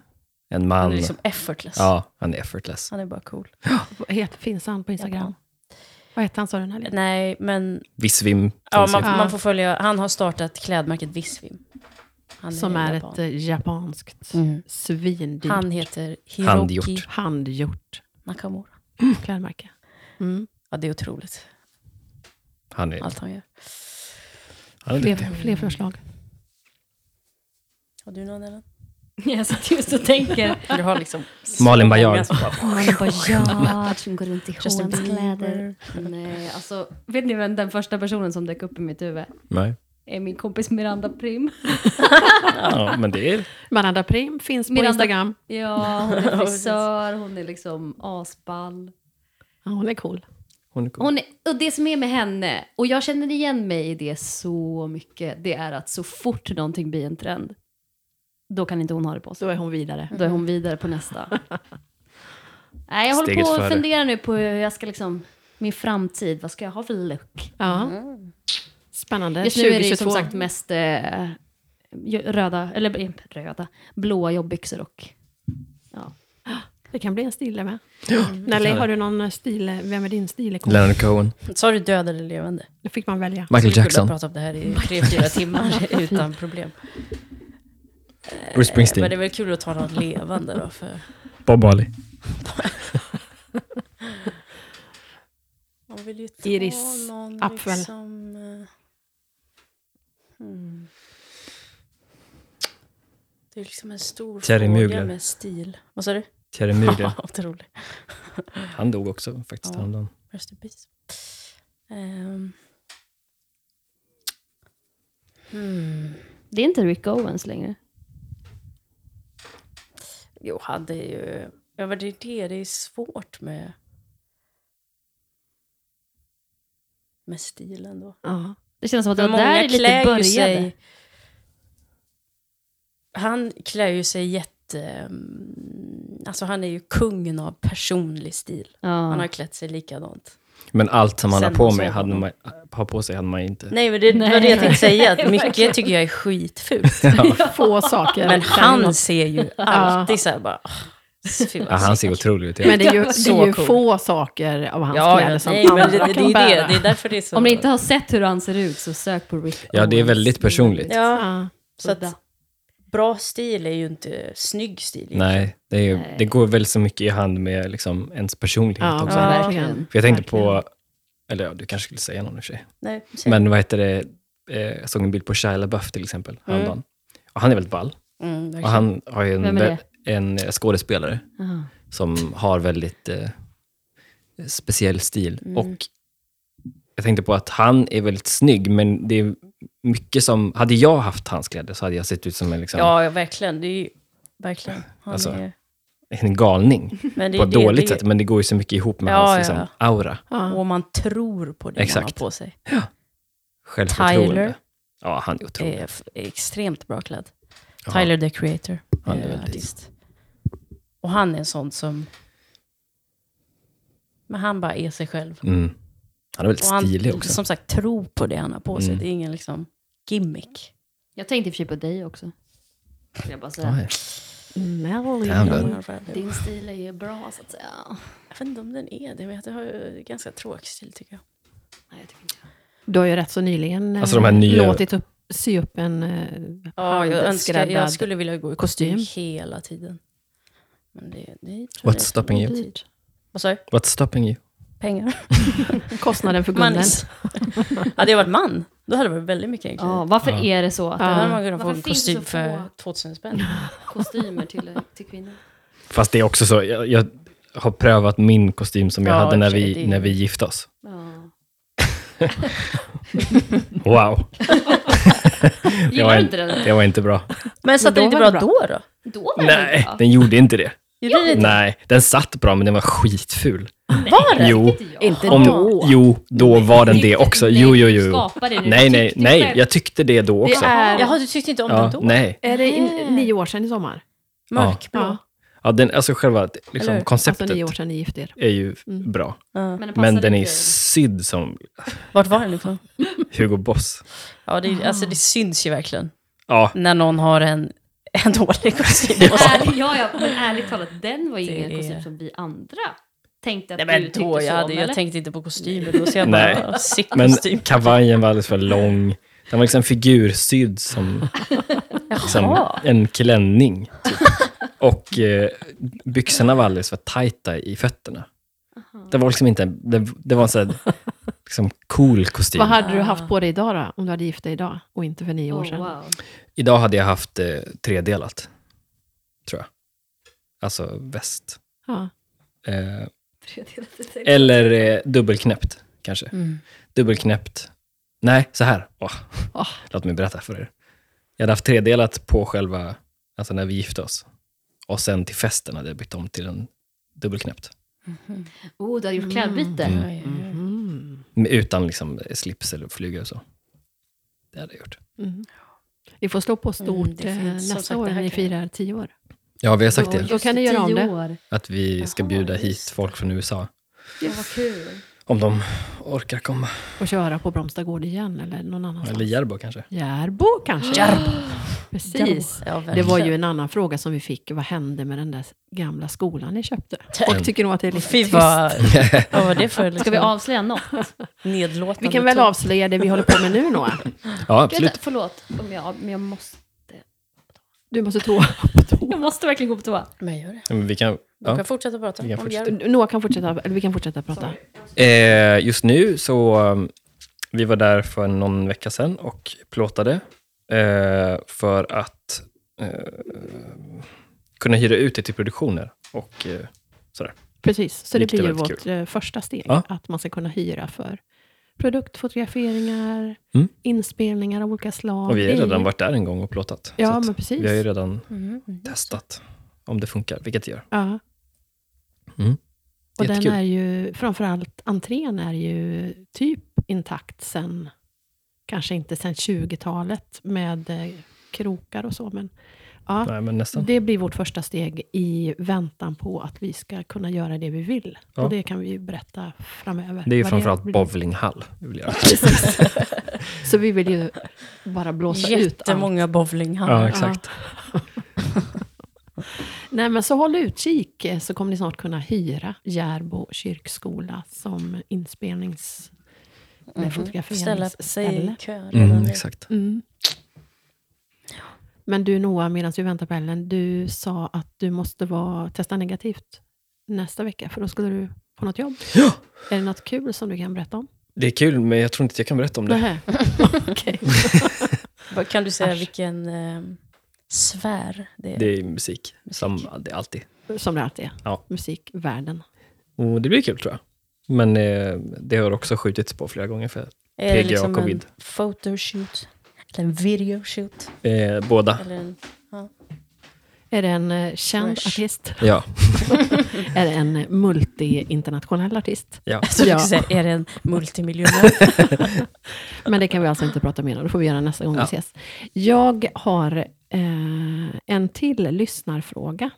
[SPEAKER 5] en man.
[SPEAKER 4] Han är liksom effortless.
[SPEAKER 5] Ja, han är effortless.
[SPEAKER 4] Han är bara cool.
[SPEAKER 2] Het, finns han på Instagram?
[SPEAKER 4] Ja.
[SPEAKER 2] Vad hette han sa den här?
[SPEAKER 4] Nej, men
[SPEAKER 5] Visvim.
[SPEAKER 4] ja, man,
[SPEAKER 5] finns ju.
[SPEAKER 4] man får följa... Han har startat klädmärket Visvim. Han
[SPEAKER 2] Som är
[SPEAKER 4] japan.
[SPEAKER 2] ett eh, japanskt
[SPEAKER 4] Mm.
[SPEAKER 2] svindyrt
[SPEAKER 4] Han heter Hiroki
[SPEAKER 5] Handgjort.
[SPEAKER 2] handgjort
[SPEAKER 4] Nakamura.
[SPEAKER 2] Mm. klädmärke. Mm.
[SPEAKER 4] Ja, det är otroligt.
[SPEAKER 5] han är,
[SPEAKER 4] Allt han gör.
[SPEAKER 5] han är
[SPEAKER 2] Fler,
[SPEAKER 5] duktig.
[SPEAKER 2] fler förslag.
[SPEAKER 4] Har du någon Ellen?
[SPEAKER 1] Jag satt just och tänker,
[SPEAKER 4] (laughs) Du har liksom...
[SPEAKER 5] Malin Baryard.
[SPEAKER 1] man bara, (laughs) ja, som går runt i
[SPEAKER 4] Justin
[SPEAKER 1] H&M kläder Nej, alltså, vet ni vem den första personen som dök upp i mitt huvud?
[SPEAKER 5] Nej.
[SPEAKER 1] eh, min kompis Miranda Prim.
[SPEAKER 5] Ja, men det är...
[SPEAKER 2] Miranda Prim finns på
[SPEAKER 1] Miranda-
[SPEAKER 2] Instagram.
[SPEAKER 1] Ja, (laughs) hon är frisör, hon är liksom asball.
[SPEAKER 2] Ja, hon är cool.
[SPEAKER 5] Hon är cool.
[SPEAKER 1] Hon är, och det som är med henne, och jag känner igen mig i det så mycket, det är att så fort någonting blir en trend, då kan inte hon ha det på sig.
[SPEAKER 2] Då är hon vidare.
[SPEAKER 1] Då är hon vidare på
[SPEAKER 5] (laughs)
[SPEAKER 1] nästa. Nej, jag håller
[SPEAKER 5] Steget
[SPEAKER 1] på att
[SPEAKER 5] före.
[SPEAKER 1] fundera nu på hur jag ska liksom, min framtid, vad ska jag ha för look?
[SPEAKER 2] Ja.
[SPEAKER 4] Mm.
[SPEAKER 2] Spännande.
[SPEAKER 1] Mm. Just nu är det ju
[SPEAKER 2] 2022.
[SPEAKER 1] som sagt mest eh, röda, eller eh, röda, blåa jobbyxor och ja.
[SPEAKER 2] Det kan bli en stil det med. Nelly, har du någon eh, stil? Vem är din stil?
[SPEAKER 5] Leonard Cohen.
[SPEAKER 4] Sa du död eller levande?
[SPEAKER 2] Då fick man välja.
[SPEAKER 5] Michael
[SPEAKER 4] Vi skulle ha
[SPEAKER 5] Jackson.
[SPEAKER 4] pratat om det här i tre, fyra timmar (laughs) utan problem. Eh, Men
[SPEAKER 5] Bruce
[SPEAKER 4] det är
[SPEAKER 5] Springsteen.
[SPEAKER 4] väl kul att ta något levande då, för
[SPEAKER 5] Bob Marley.
[SPEAKER 4] man vill ju ta
[SPEAKER 2] Iris
[SPEAKER 4] någon
[SPEAKER 2] Apfel.
[SPEAKER 4] liksom... eh, hmm. Det är liksom en stor
[SPEAKER 5] Thierry
[SPEAKER 4] fråga
[SPEAKER 5] Mugler.
[SPEAKER 4] med stil. Vad sa du?
[SPEAKER 5] Thierry Mugler.
[SPEAKER 4] (laughs) Otroligt.
[SPEAKER 5] Han dog också faktiskt
[SPEAKER 4] Ja.
[SPEAKER 5] häromdagen.
[SPEAKER 4] Rest in peace. Ehm. Hmm.
[SPEAKER 1] Det är inte Rick Owens längre.
[SPEAKER 4] Jo, han det är ju... Ja, men det är det, det är svårt med... Med stilen då.
[SPEAKER 2] Ja.
[SPEAKER 1] Det känns som att det
[SPEAKER 4] För
[SPEAKER 1] var där det lite började.
[SPEAKER 4] Han klär ju sig jätte... mm, Alltså han är ju kungen av personlig stil. Han
[SPEAKER 1] Ja.
[SPEAKER 4] har klätt sig likadant.
[SPEAKER 5] Men allt som han
[SPEAKER 4] Sen
[SPEAKER 5] har på,
[SPEAKER 4] man
[SPEAKER 5] mig
[SPEAKER 4] såg
[SPEAKER 5] hade
[SPEAKER 4] honom.
[SPEAKER 5] man, har på sig hade man inte.
[SPEAKER 4] Nej, men det det var det jag tänkte
[SPEAKER 1] (laughs)
[SPEAKER 4] säga. Att
[SPEAKER 1] verkligen.
[SPEAKER 4] mycket tycker jag är skitfult.
[SPEAKER 2] (laughs) Få saker.
[SPEAKER 4] Men
[SPEAKER 2] kan ju
[SPEAKER 4] han
[SPEAKER 2] något-
[SPEAKER 4] ser (laughs) ju alltid så här bara... "Åh, fy vad
[SPEAKER 5] Ja, han ser
[SPEAKER 4] snyggt."
[SPEAKER 5] otrolig ut.
[SPEAKER 2] Men det är (laughs) ju, det
[SPEAKER 4] Så
[SPEAKER 2] är ju
[SPEAKER 4] cool.
[SPEAKER 2] få saker av hans
[SPEAKER 4] Ja,
[SPEAKER 2] kläder
[SPEAKER 4] ja,
[SPEAKER 2] som
[SPEAKER 4] nej, men det,
[SPEAKER 2] andra
[SPEAKER 4] det, det,
[SPEAKER 2] kan
[SPEAKER 4] är ju det,
[SPEAKER 2] bära.
[SPEAKER 4] det är därför det är så...
[SPEAKER 1] Om ni inte har sett hur han ser ut så sök på Rick
[SPEAKER 5] Ja, det är
[SPEAKER 1] Owens.
[SPEAKER 5] väldigt personligt.
[SPEAKER 4] Ja,
[SPEAKER 2] Ja.
[SPEAKER 4] så att bra stil är ju inte snygg stil. egentligen.
[SPEAKER 5] Nej, det, är ju,
[SPEAKER 1] Nej.
[SPEAKER 5] det går väl så mycket i hand med liksom ens personlighet
[SPEAKER 2] Ja,
[SPEAKER 5] också.
[SPEAKER 4] Ja.
[SPEAKER 2] verkligen.
[SPEAKER 5] För jag tänkte på,
[SPEAKER 2] verkligen.
[SPEAKER 5] eller ja, du kanske skulle säga någon i och för sig.
[SPEAKER 4] Nej, säg.
[SPEAKER 5] Men vad heter det, eh, jag såg en bild på Shia LaBeouf till exempel häromdagen. Och han är väldigt ball.
[SPEAKER 4] Mm,
[SPEAKER 5] Och
[SPEAKER 4] verkligen.
[SPEAKER 5] han har ju
[SPEAKER 1] Vem
[SPEAKER 5] en,
[SPEAKER 1] är det?
[SPEAKER 5] en skådespelare
[SPEAKER 1] Ja.
[SPEAKER 5] som har väldigt eh, speciell stil.
[SPEAKER 4] Mm.
[SPEAKER 5] Och jag tänkte på att han är väldigt snygg, men det är mycket som... Hade jag haft hans kläder så hade jag sett ut som en, liksom,
[SPEAKER 4] Ja, ja, verkligen. Det är ju... Verkligen. Han
[SPEAKER 5] Alltså,
[SPEAKER 4] är,
[SPEAKER 5] en galning.
[SPEAKER 4] men det är
[SPEAKER 5] På
[SPEAKER 4] det,
[SPEAKER 5] ett dåligt
[SPEAKER 4] det,
[SPEAKER 5] sätt, men det går ju så mycket ihop med
[SPEAKER 4] Ja,
[SPEAKER 5] hans
[SPEAKER 4] ja,
[SPEAKER 5] liksom,
[SPEAKER 4] ja.
[SPEAKER 5] aura.
[SPEAKER 2] Ja.
[SPEAKER 4] Och man tror på det man har
[SPEAKER 5] Exakt.
[SPEAKER 4] på sig.
[SPEAKER 5] Självförtroende.
[SPEAKER 4] Tyler.
[SPEAKER 5] Ja, han är otrolig.
[SPEAKER 4] Är f- är extremt bra klädd.
[SPEAKER 5] Ja.
[SPEAKER 4] Tyler, the creator,
[SPEAKER 5] Han
[SPEAKER 4] han
[SPEAKER 5] är
[SPEAKER 4] är
[SPEAKER 5] väldigt-
[SPEAKER 4] artist. Och han är en sån som... Men han bara är sig själv.
[SPEAKER 5] Mm. Han är väldigt
[SPEAKER 4] Eh. Och han,
[SPEAKER 5] stilig också.
[SPEAKER 4] som sagt, tror på det han har på sig.
[SPEAKER 5] Mm.
[SPEAKER 4] Det är ingen liksom gimmick.
[SPEAKER 1] Jag tänkte i och för sig på dig också. Skulle Jag bara säga.
[SPEAKER 5] Ja, ja.
[SPEAKER 2] Nelly.
[SPEAKER 5] Jävlar.
[SPEAKER 4] Jag vet
[SPEAKER 1] Din stil är ju bra så att säga.
[SPEAKER 4] inte om den är det, men jag har ju ganska tråkig stil tycker jag.
[SPEAKER 1] Nej, jag tycker inte det.
[SPEAKER 2] Du har ju rätt så nyligen eh,
[SPEAKER 5] Alltså de här nya-
[SPEAKER 2] låtit upp, sy upp en eh,
[SPEAKER 4] Ja, jag, önskar,
[SPEAKER 2] handskräddad-
[SPEAKER 4] jag skulle vilja gå i kostym
[SPEAKER 2] kostym.
[SPEAKER 4] hela tiden. Men det, det tror jag
[SPEAKER 5] What's
[SPEAKER 4] är så
[SPEAKER 5] stopping you?
[SPEAKER 4] dyrt. Vad sa du?
[SPEAKER 5] What's stopping you?
[SPEAKER 4] (laughs) Pengar?
[SPEAKER 2] kostnaden för
[SPEAKER 4] (laughs)
[SPEAKER 2] gulden.
[SPEAKER 4] Manis. hade jag varit man, då hade det varit väldigt mycket enklare.
[SPEAKER 1] Ja, varför
[SPEAKER 5] Ja.
[SPEAKER 1] är det så att
[SPEAKER 4] Då hade
[SPEAKER 2] Ja.
[SPEAKER 4] man kunnat få
[SPEAKER 1] Varför
[SPEAKER 4] en
[SPEAKER 1] finns
[SPEAKER 4] kostym
[SPEAKER 1] det så
[SPEAKER 4] för
[SPEAKER 1] få?
[SPEAKER 4] 2000 spänn.
[SPEAKER 1] kostymer till, till kvinnor?
[SPEAKER 5] Fast det är också så, jag, jag har prövat min kostym som jag
[SPEAKER 4] Ja,
[SPEAKER 5] hade när
[SPEAKER 4] okej, det
[SPEAKER 5] vi,
[SPEAKER 4] är-
[SPEAKER 5] när vi gifte oss.
[SPEAKER 1] Ja.
[SPEAKER 4] (laughs)
[SPEAKER 5] Wow, det
[SPEAKER 1] Gillar
[SPEAKER 5] var,
[SPEAKER 1] du
[SPEAKER 5] en,
[SPEAKER 1] inte den?
[SPEAKER 5] det var inte bra.
[SPEAKER 4] Men satt
[SPEAKER 2] då
[SPEAKER 4] den inte
[SPEAKER 2] var
[SPEAKER 4] bra,
[SPEAKER 2] det
[SPEAKER 4] då då?
[SPEAKER 1] Då var
[SPEAKER 5] Nej,
[SPEAKER 1] den bra.
[SPEAKER 5] den gjorde inte det.
[SPEAKER 4] Gjorde det inte?
[SPEAKER 5] Nej, den satt bra, men den var skitful.
[SPEAKER 4] Var det?
[SPEAKER 5] Jo,
[SPEAKER 1] Inte jag.
[SPEAKER 2] Inte
[SPEAKER 5] om,
[SPEAKER 2] då.
[SPEAKER 5] jo då var den det också. Jo, jo, jo.
[SPEAKER 1] Skapa det nu.
[SPEAKER 5] Nej,
[SPEAKER 1] Tyck
[SPEAKER 5] nej,
[SPEAKER 1] det
[SPEAKER 5] nej,
[SPEAKER 1] själv.
[SPEAKER 5] jag tyckte det då också.
[SPEAKER 2] är,
[SPEAKER 4] Jaha, du tyckte inte om den
[SPEAKER 5] Ja,
[SPEAKER 4] då?
[SPEAKER 5] nej.
[SPEAKER 2] är det in, nio år sedan i sommar? Alltså,
[SPEAKER 4] Mörkblå?
[SPEAKER 2] Ja.
[SPEAKER 5] Ja, den, alltså själva
[SPEAKER 4] Eller hur?
[SPEAKER 5] liksom,
[SPEAKER 2] Alltså
[SPEAKER 5] konceptet
[SPEAKER 2] nio år sedan ni gifte er.
[SPEAKER 5] är ju
[SPEAKER 2] Mm.
[SPEAKER 5] bra.
[SPEAKER 4] Ja.
[SPEAKER 1] Men den,
[SPEAKER 5] Men
[SPEAKER 1] passade
[SPEAKER 5] den är
[SPEAKER 1] inte.
[SPEAKER 5] sydd som
[SPEAKER 4] Vart var liksom? den ifrån?
[SPEAKER 5] Hugo Boss.
[SPEAKER 4] Ja, det, är- alltså, det syns ju verkligen
[SPEAKER 5] Ja,
[SPEAKER 4] när någon har en, en dålig kostym. (laughs)
[SPEAKER 1] Ärligt, ja, ja, men ärligt talat, den var ju
[SPEAKER 4] Det
[SPEAKER 1] ingen
[SPEAKER 4] är-
[SPEAKER 1] koncept som vi andra tänkte att
[SPEAKER 4] Nej,
[SPEAKER 1] du
[SPEAKER 4] men
[SPEAKER 1] tyckte
[SPEAKER 4] då,
[SPEAKER 1] typ så
[SPEAKER 4] jag, hade,
[SPEAKER 1] om,
[SPEAKER 4] jag
[SPEAKER 1] eller?
[SPEAKER 4] tänkte inte på kostymer, då ser jag
[SPEAKER 5] Nej.
[SPEAKER 4] bara sick
[SPEAKER 5] men
[SPEAKER 4] kostym.
[SPEAKER 5] kavajen var alldeles för lång. Den var liksom figursydd som liksom,
[SPEAKER 4] Jaha.
[SPEAKER 5] en klänning. Typ. Och eh, byxorna var alldeles för tajta i fötterna. Det var liksom inte, det, det var en sån här, liksom cool kostym.
[SPEAKER 2] Vad hade du haft på dig idag då? Om du hade gift dig idag och inte för nio år
[SPEAKER 1] Oh,
[SPEAKER 2] sedan.
[SPEAKER 1] wow.
[SPEAKER 5] Idag hade jag haft eh, tredelat, tror jag. Alltså väst.
[SPEAKER 2] Ja.
[SPEAKER 5] Eh,
[SPEAKER 1] Tredelat, det tänkte jag.
[SPEAKER 5] eller eh, dubbelknäppt, kanske.
[SPEAKER 4] Mm.
[SPEAKER 5] Dubbelknäppt Nej, så här. Åh.
[SPEAKER 2] Åh.
[SPEAKER 5] Låt mig berätta för er. Jag hade haft tredelat på själva, alltså när vi gifte oss. Och sen till festen hade jag bytt om till en dubbelknäppt.
[SPEAKER 1] Oh, du hade gjort klädbyte.
[SPEAKER 5] Mm.
[SPEAKER 4] Oj, oj, oj.
[SPEAKER 2] Mm.
[SPEAKER 5] Men Utan liksom slips eller flyga och så. Det hade jag gjort.
[SPEAKER 2] Ni Mm. får slå på stort
[SPEAKER 4] Mm, det
[SPEAKER 2] eh,
[SPEAKER 4] finns som
[SPEAKER 2] nästa
[SPEAKER 4] sagt,
[SPEAKER 2] år
[SPEAKER 4] det här
[SPEAKER 2] när ni
[SPEAKER 4] kan jag-
[SPEAKER 2] firar tio år.
[SPEAKER 5] Ja, vi har sagt
[SPEAKER 1] Oj,
[SPEAKER 5] det.
[SPEAKER 2] Då kan ni
[SPEAKER 1] just
[SPEAKER 2] göra om
[SPEAKER 1] tio
[SPEAKER 2] det.
[SPEAKER 1] år.
[SPEAKER 5] Att vi ska
[SPEAKER 1] Jaha,
[SPEAKER 5] bjuda hit
[SPEAKER 1] just
[SPEAKER 5] folk från USA.
[SPEAKER 1] Ja, vad kul.
[SPEAKER 5] Om de orkar komma.
[SPEAKER 2] Och köra på Bromstagård igen eller någon annanstans.
[SPEAKER 5] Eller Järbo kanske.
[SPEAKER 2] Järbo kanske? Järbo. Precis.
[SPEAKER 4] Ja,
[SPEAKER 2] Det
[SPEAKER 4] verkligen.
[SPEAKER 2] var ju en annan fråga som vi fick. Vad hände med den där gamla skolan ni köpte? Folk tycker nog att det är lite
[SPEAKER 4] Mm. Fy
[SPEAKER 2] trist.
[SPEAKER 4] vad...
[SPEAKER 5] (laughs)
[SPEAKER 4] Vad var det för
[SPEAKER 1] Ska
[SPEAKER 4] liksom,
[SPEAKER 1] vi avslöja något?
[SPEAKER 4] nedlåtande
[SPEAKER 2] Vi kan väl
[SPEAKER 4] ton?
[SPEAKER 2] avslöja det vi håller på med nu,
[SPEAKER 4] (laughs)
[SPEAKER 2] Noah?
[SPEAKER 5] Ja, absolut.
[SPEAKER 1] Vänta, förlåt, om jag, men jag måste,
[SPEAKER 2] Du måste toa.
[SPEAKER 1] jag måste verkligen gå på toa.
[SPEAKER 4] Men gör det.
[SPEAKER 5] Ja, Men vi kan,
[SPEAKER 4] Du
[SPEAKER 5] ja.
[SPEAKER 4] kan fortsätta prata.
[SPEAKER 5] Vi kan
[SPEAKER 4] om
[SPEAKER 5] fortsätta.
[SPEAKER 4] Järn.
[SPEAKER 2] Noah kan fortsätta, eller vi kan fortsätta prata.
[SPEAKER 5] eh, just nu så, um, vi var där för någon vecka sedan och plåtade. Eh, för att eh, kunna hyra ut det till produktioner. Och, eh, sådär.
[SPEAKER 2] Precis, så det
[SPEAKER 5] Vilket
[SPEAKER 2] blir ju
[SPEAKER 5] är väldigt
[SPEAKER 2] vårt eh, första steg.
[SPEAKER 5] Ja.
[SPEAKER 2] Att man ska kunna hyra för produktfotograferingar,
[SPEAKER 5] Mm.
[SPEAKER 2] inspelningar av olika slag.
[SPEAKER 5] Och vi har ju
[SPEAKER 2] Det är
[SPEAKER 5] redan
[SPEAKER 2] ju-
[SPEAKER 5] varit där en gång och plåtat.
[SPEAKER 2] Ja,
[SPEAKER 5] Så att
[SPEAKER 2] men precis.
[SPEAKER 5] Vi har ju redan
[SPEAKER 4] Mm.
[SPEAKER 5] testat om det funkar, vilket det gör.
[SPEAKER 2] Ja.
[SPEAKER 5] Mm.
[SPEAKER 2] Och den
[SPEAKER 5] Jättekul.
[SPEAKER 2] är ju, framförallt entrén är ju typ intakt sen, kanske inte sen 20-talet med eh, krokar och så, men ja.
[SPEAKER 5] Nej, men nästan.
[SPEAKER 2] Det blir vårt första steg i väntan på att vi ska kunna göra det vi vill.
[SPEAKER 5] Ja.
[SPEAKER 2] Och det kan vi ju berätta framöver.
[SPEAKER 5] Det är ju
[SPEAKER 2] vad
[SPEAKER 5] framförallt
[SPEAKER 2] blir.
[SPEAKER 5] bowlinghall. vi vill göra.
[SPEAKER 2] (laughs) Så vi vill ju bara blåsa ut allt.
[SPEAKER 4] Jättemånga
[SPEAKER 5] Ja,
[SPEAKER 4] bowlinghallar.
[SPEAKER 5] exakt.
[SPEAKER 2] Nej, men så håll utkik eh, så kommer ni snart kunna hyra Järbo kyrkskola som inspelnings... Mm.
[SPEAKER 4] Mhm. Ställa sig i
[SPEAKER 2] fotograferingsställe.
[SPEAKER 4] kö. redan
[SPEAKER 5] Mm,
[SPEAKER 4] nu.
[SPEAKER 5] exakt.
[SPEAKER 2] Mm. Men du Noah, medan vi väntar på Ellen, du sa att du måste vara, testa negativt nästa vecka, för då skulle du på något jobb.
[SPEAKER 5] Ja!
[SPEAKER 2] Är det något kul som du kan berätta om?
[SPEAKER 5] Det är kul, men jag tror inte att jag kan berätta om det.
[SPEAKER 2] Nähä. Okej.
[SPEAKER 4] Vad- Kan du säga
[SPEAKER 2] Asch.
[SPEAKER 4] vilken eh, sfär det är?
[SPEAKER 5] Det är musik, som det är alltid.
[SPEAKER 2] Som det alltid är.
[SPEAKER 5] Ja.
[SPEAKER 2] Musikvärlden.
[SPEAKER 5] Och det blir kul tror jag. Men eh, det har också skjutits på flera gånger för
[SPEAKER 4] Är det
[SPEAKER 5] PGA
[SPEAKER 4] liksom
[SPEAKER 5] covid.
[SPEAKER 4] en photoshoot? Eller en videoshoot?
[SPEAKER 5] eh, båda.
[SPEAKER 4] Eller en,
[SPEAKER 2] Är det en eh, känd
[SPEAKER 4] Fresh.
[SPEAKER 2] artist?
[SPEAKER 5] Ja.
[SPEAKER 2] Är det en multi-internationell artist?
[SPEAKER 4] (laughs)
[SPEAKER 5] ja.
[SPEAKER 4] alltså,
[SPEAKER 2] Ja.
[SPEAKER 4] ja. säga, är det en (laughs) multimiljonär?
[SPEAKER 2] Men det kan vi alltså inte prata mer om. Det får vi göra nästa gång vi
[SPEAKER 5] Ja.
[SPEAKER 2] ses. Jag har eh, en till lyssnarfråga.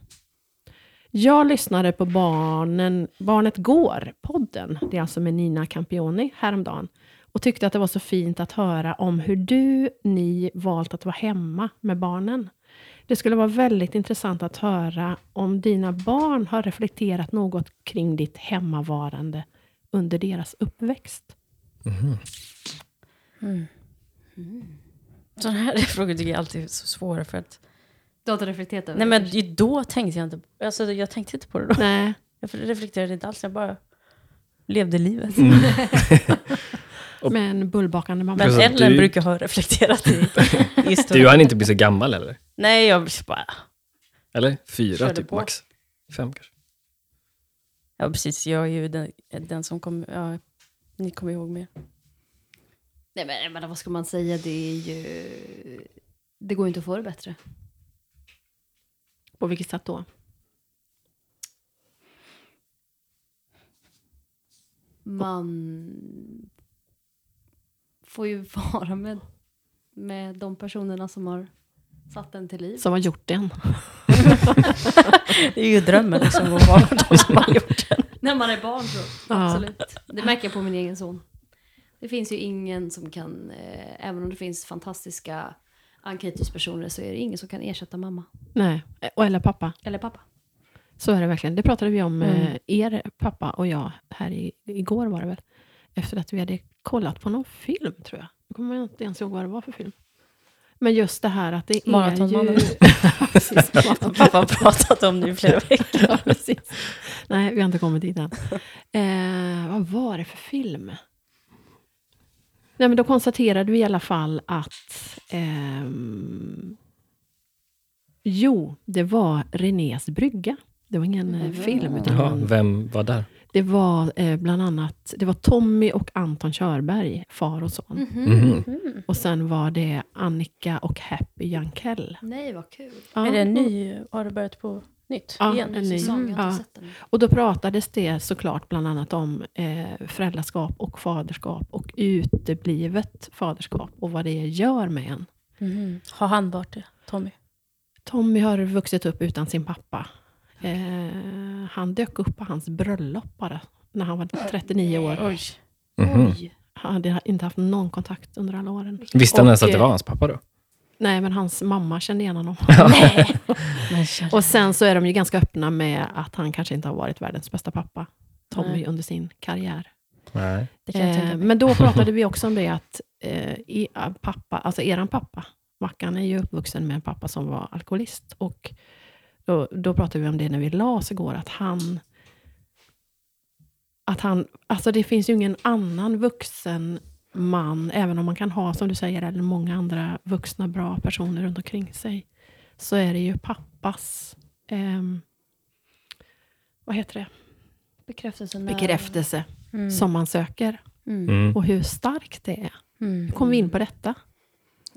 [SPEAKER 2] Jag lyssnade på barnen, Barnet Går-podden, det är alltså med Nina Campioni, häromdagen, och tyckte att det var så fint att höra om hur du, ni, valt att vara hemma med barnen. Det skulle vara väldigt intressant att höra om dina barn har reflekterat något kring ditt hemmavarande under deras uppväxt.
[SPEAKER 4] Sådana här frågor tycker jag alltid är så svåra för att...
[SPEAKER 1] Du har inte reflekterat över
[SPEAKER 4] Nej
[SPEAKER 1] det
[SPEAKER 4] men
[SPEAKER 1] kanske?
[SPEAKER 4] ju då tänkte jag inte... Alltså jag tänkte inte på det då.
[SPEAKER 2] Nej,
[SPEAKER 4] Jag reflekterade inte alls, jag bara levde livet.
[SPEAKER 5] Mm,
[SPEAKER 2] med en bullbakande mamma.
[SPEAKER 4] Men
[SPEAKER 5] Precis,
[SPEAKER 4] Ellen
[SPEAKER 5] du-
[SPEAKER 4] brukar ha reflekterat i,
[SPEAKER 5] (laughs)
[SPEAKER 4] i
[SPEAKER 5] Du
[SPEAKER 4] historien.
[SPEAKER 5] hann inte bli så gammal eller?
[SPEAKER 4] Nej, jag blir så bara...
[SPEAKER 5] Eller? Fyra
[SPEAKER 4] Körde
[SPEAKER 5] typ
[SPEAKER 4] på.
[SPEAKER 5] max. Fem kanske.
[SPEAKER 4] Ja, precis. Jag är ju den, den som kommer... Ja, ni kommer ihåg mer.
[SPEAKER 1] Nej men jag menar, vad ska man säga, det är ju... Det går ju inte att få det bättre.
[SPEAKER 2] På vilket sätt då?
[SPEAKER 1] Man får ju (laughs) vara med, med de personerna som har satt en till liv.
[SPEAKER 2] Som har gjort den.
[SPEAKER 4] Det är ju drömmen liksom, att vara med de som
[SPEAKER 5] (laughs)
[SPEAKER 4] har gjort det.
[SPEAKER 1] När man är barn så,
[SPEAKER 4] (laughs)
[SPEAKER 2] Ja.
[SPEAKER 1] absolut. Det märker jag på min egen son. Det finns ju ingen som kan, eh, även om det finns fantastiska Ankitos-personer så är det ingen som kan ersätta mamma.
[SPEAKER 2] Nej, och eller pappa.
[SPEAKER 1] Eller pappa.
[SPEAKER 2] Så är det verkligen. Det pratade vi om, eh, er pappa och jag, här i, igår var det väl. Efter att vi hade kollat på någon film, tror jag. Nu kommer jag inte ens ihåg vad det var för film. Men just det här att det är
[SPEAKER 4] Maratonmannen.
[SPEAKER 2] ju... (laughs) Precis, maraton-
[SPEAKER 4] Pappa har pratat om det i flera
[SPEAKER 5] (laughs)
[SPEAKER 4] veckor.
[SPEAKER 2] (laughs) ja, precis. Nej, vi har inte kommit dit än. Eh, vad var det för film? Nej, men då konstaterade vi i alla fall att... ehm, jo, det var Renés brygga. Det var ingen eh, film, utan
[SPEAKER 5] Jaha,
[SPEAKER 4] Mm.
[SPEAKER 2] en-
[SPEAKER 5] vem var där?
[SPEAKER 2] Det var eh, bland annat det var Tommy och Anton Körberg, far och
[SPEAKER 4] Mm.
[SPEAKER 2] son.
[SPEAKER 1] Mm-hmm.
[SPEAKER 5] Mhm.
[SPEAKER 2] Och sen var det Annika och Happy Jankell.
[SPEAKER 1] Nej, vad kul.
[SPEAKER 2] Ja.
[SPEAKER 4] Är det en ny? Har det börjat på nytt?
[SPEAKER 2] Ja,
[SPEAKER 4] igen?
[SPEAKER 2] en ny.
[SPEAKER 1] Säsong, jag har
[SPEAKER 2] Ja.
[SPEAKER 1] inte sett den.
[SPEAKER 2] Och då pratades det såklart bland annat om eh, föräldraskap och faderskap och uteblivet faderskap och vad det gör med en.
[SPEAKER 4] Mhm. Har han varit det, Tommy?
[SPEAKER 2] Tommy har vuxit upp utan sin pappa. Eh, han dök upp på hans bröllop bara, när han var 39 år.
[SPEAKER 4] Oj. Mm-hmm.
[SPEAKER 5] Mhm.
[SPEAKER 2] Han hade inte haft någon kontakt under alla åren.
[SPEAKER 5] Visste han
[SPEAKER 2] Och,
[SPEAKER 5] ens att det
[SPEAKER 2] eh,
[SPEAKER 5] var hans pappa då?
[SPEAKER 2] Nej, men hans mamma kände igen honom.
[SPEAKER 4] Men kära-
[SPEAKER 2] Och sen så är de ju ganska öppna med att han kanske inte har varit världens bästa pappa, Tommy,
[SPEAKER 4] Nej.
[SPEAKER 2] under sin karriär.
[SPEAKER 5] Nej.
[SPEAKER 4] Det kan jag tänka
[SPEAKER 2] Eh,
[SPEAKER 4] mig.
[SPEAKER 2] men då pratade vi också om det att eh, i, eh, pappa, alltså eran pappa, Mackan är ju uppvuxen med en pappa som var alkoholist. Och då, då pratade vi om det när vi la oss igår, att han... Att han alltså det finns ju ingen annan vuxen man, även om man kan ha, som du säger, eller många andra vuxna bra personer runt omkring sig, så är det ju pappas... ehm, vad heter det?
[SPEAKER 1] Bekräftelsen där.
[SPEAKER 2] Bekräftelse eh, som man söker
[SPEAKER 1] Mm.
[SPEAKER 5] Mm.
[SPEAKER 2] och hur starkt det är.
[SPEAKER 4] Mm.
[SPEAKER 2] Hur kom vi in på detta?